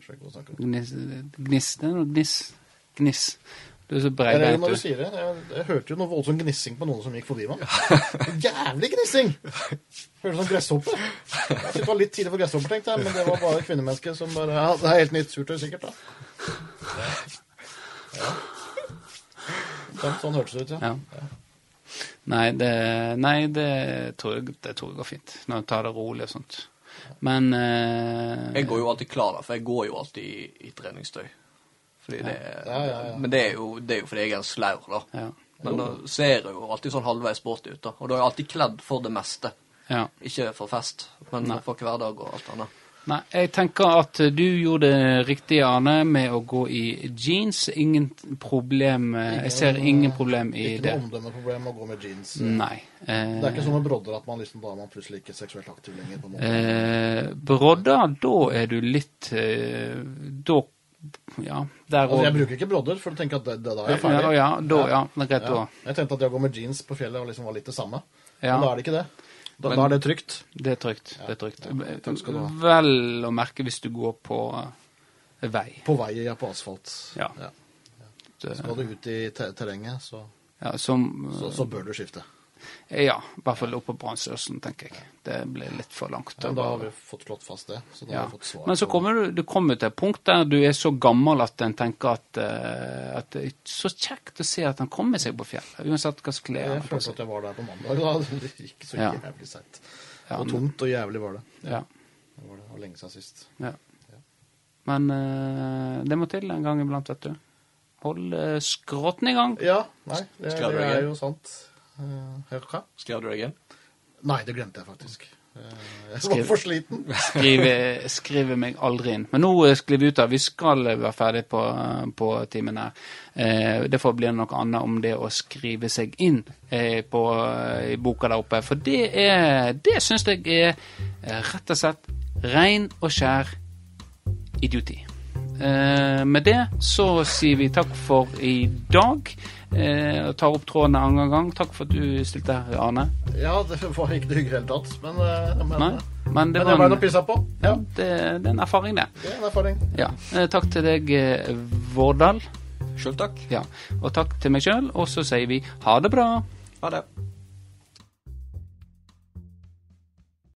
Skjønner ikke hva du snakker om.
Gniss, gniss, eh, det er noe gniss. Gniss. Du er så
Det er det
breibeint,
når du
du.
sier det. Jeg, jeg hørte jo noe voldsom gnissing på noen som gikk forbi meg. Jævlig gnissing! Hørtes ut som gresshoppe. Jeg synes det var litt tidlig for gresshopper, tenkte jeg, men det var bare kvinnemennesker som bare ja, Det er helt nytt surtøy, sikkert, da. Ja. Sånn, sånn hørtes det ut, ja.
Ja. Nei, det, nei det, tror jeg, det tror jeg går fint. Når du tar det rolig og sånt. Men eh,
Jeg går jo alltid klar, da, for jeg går jo alltid i, i treningstøy. Fordi det,
Ja, ja, ja.
Men det er, jo, det er jo fordi jeg er en slaur, da.
Ja.
Men da ser jeg jo alltid sånn halvveis sporty ut, da. Og da er jeg alltid kledd for det meste.
ja.
Ikke for fest, men for hverdag og alt annet.
Nei, jeg tenker at du gjorde det riktig, Arne, med å gå i jeans. Ingen problem eh, Jeg ser ingen problem i
Ikke
det.
noe omdømmeproblem å gå med jeans.
Nei. Eh,
Det er ikke sånn med brodder at man liksom, da er man plutselig ikke seksuelt aktiv lenger. på en måte.
Eh, Brodda, da er du litt eh, Da Ja, der
Altså, jeg
òg.
bruker ikke brodder, for å tenke at det, det da er jeg ferdig.
Ja, ja, da, ja. Det er greit,
Ja.
da.
Jeg tenkte at det å gå med jeans på fjellet var liksom var litt det samme.
Ja.
Men da er det ikke det. Da, da er det trygt.
Det er trygt. Det er trygt.
takk skal du ha.
Vel å merke hvis du går på eh, vei.
På vei ja, på asfalt.
Ja.
Skal du ut i te terrenget, så,
Ja, som
så, så bør du skifte.
eh, Ja, i hvert fall oppe på Bransøsen, tenker jeg. Det blir litt for langt.
Ja,
å
da har
bare-
vi fått slått fast det. Så da
Ja.
har vi fått svar.
Men så
på-
kommer du, du kommer til et punkt der du er så gammel at en tenker at, eh, at det er så kjekt å se at han kommer seg på fjellet, uansett hva slags klær han har
Jeg
på
følte
seg.
at jeg var der på mandag. da. <laughs> Det gikk så
Ja.
jævlig seint.
Ja,
Og
men-
tungt og jævlig var det.
Ja.
Det var det, det var lenge siden sist.
Ja. Men eh, det må til en gang iblant, vet du. Hold eh, skrotten i gang.
Ja, nei, det,
Skrev du
det
ikke?
er jo sant. Eh, hva?
Skrev du deg inn?
Nei, det glemte jeg faktisk. Eh, jeg
Skrev-
var for sliten.
Skrive, skrive meg aldri inn. Men nå eh, sklir vi ut av. Vi skal eh, være ferdig på, på timen her. Eh, det får bli noe annet om det å skrive seg inn eh, på, i boka der oppe. For det er Det syns jeg er eh, rett og slett rein og skjær idioti. Eh, med det så sier vi takk for i dag. Eh, og tar opp tråden en annen gang. Takk for at du stilte her, Arne.
Ja, det var ikke det hyggelige i det hele tatt. Men, eh, men,
Nei, men det
men jeg
var
ble nå
en,
pissa på.
ja,
Ja,
det, det er en erfaring, det.
det er en erfaring.
Ja. Eh, Takk til deg, eh, Vårdal.
Sjøl takk.
Ja. Og takk til meg sjøl. Og så sier vi ha det bra.
Ha det.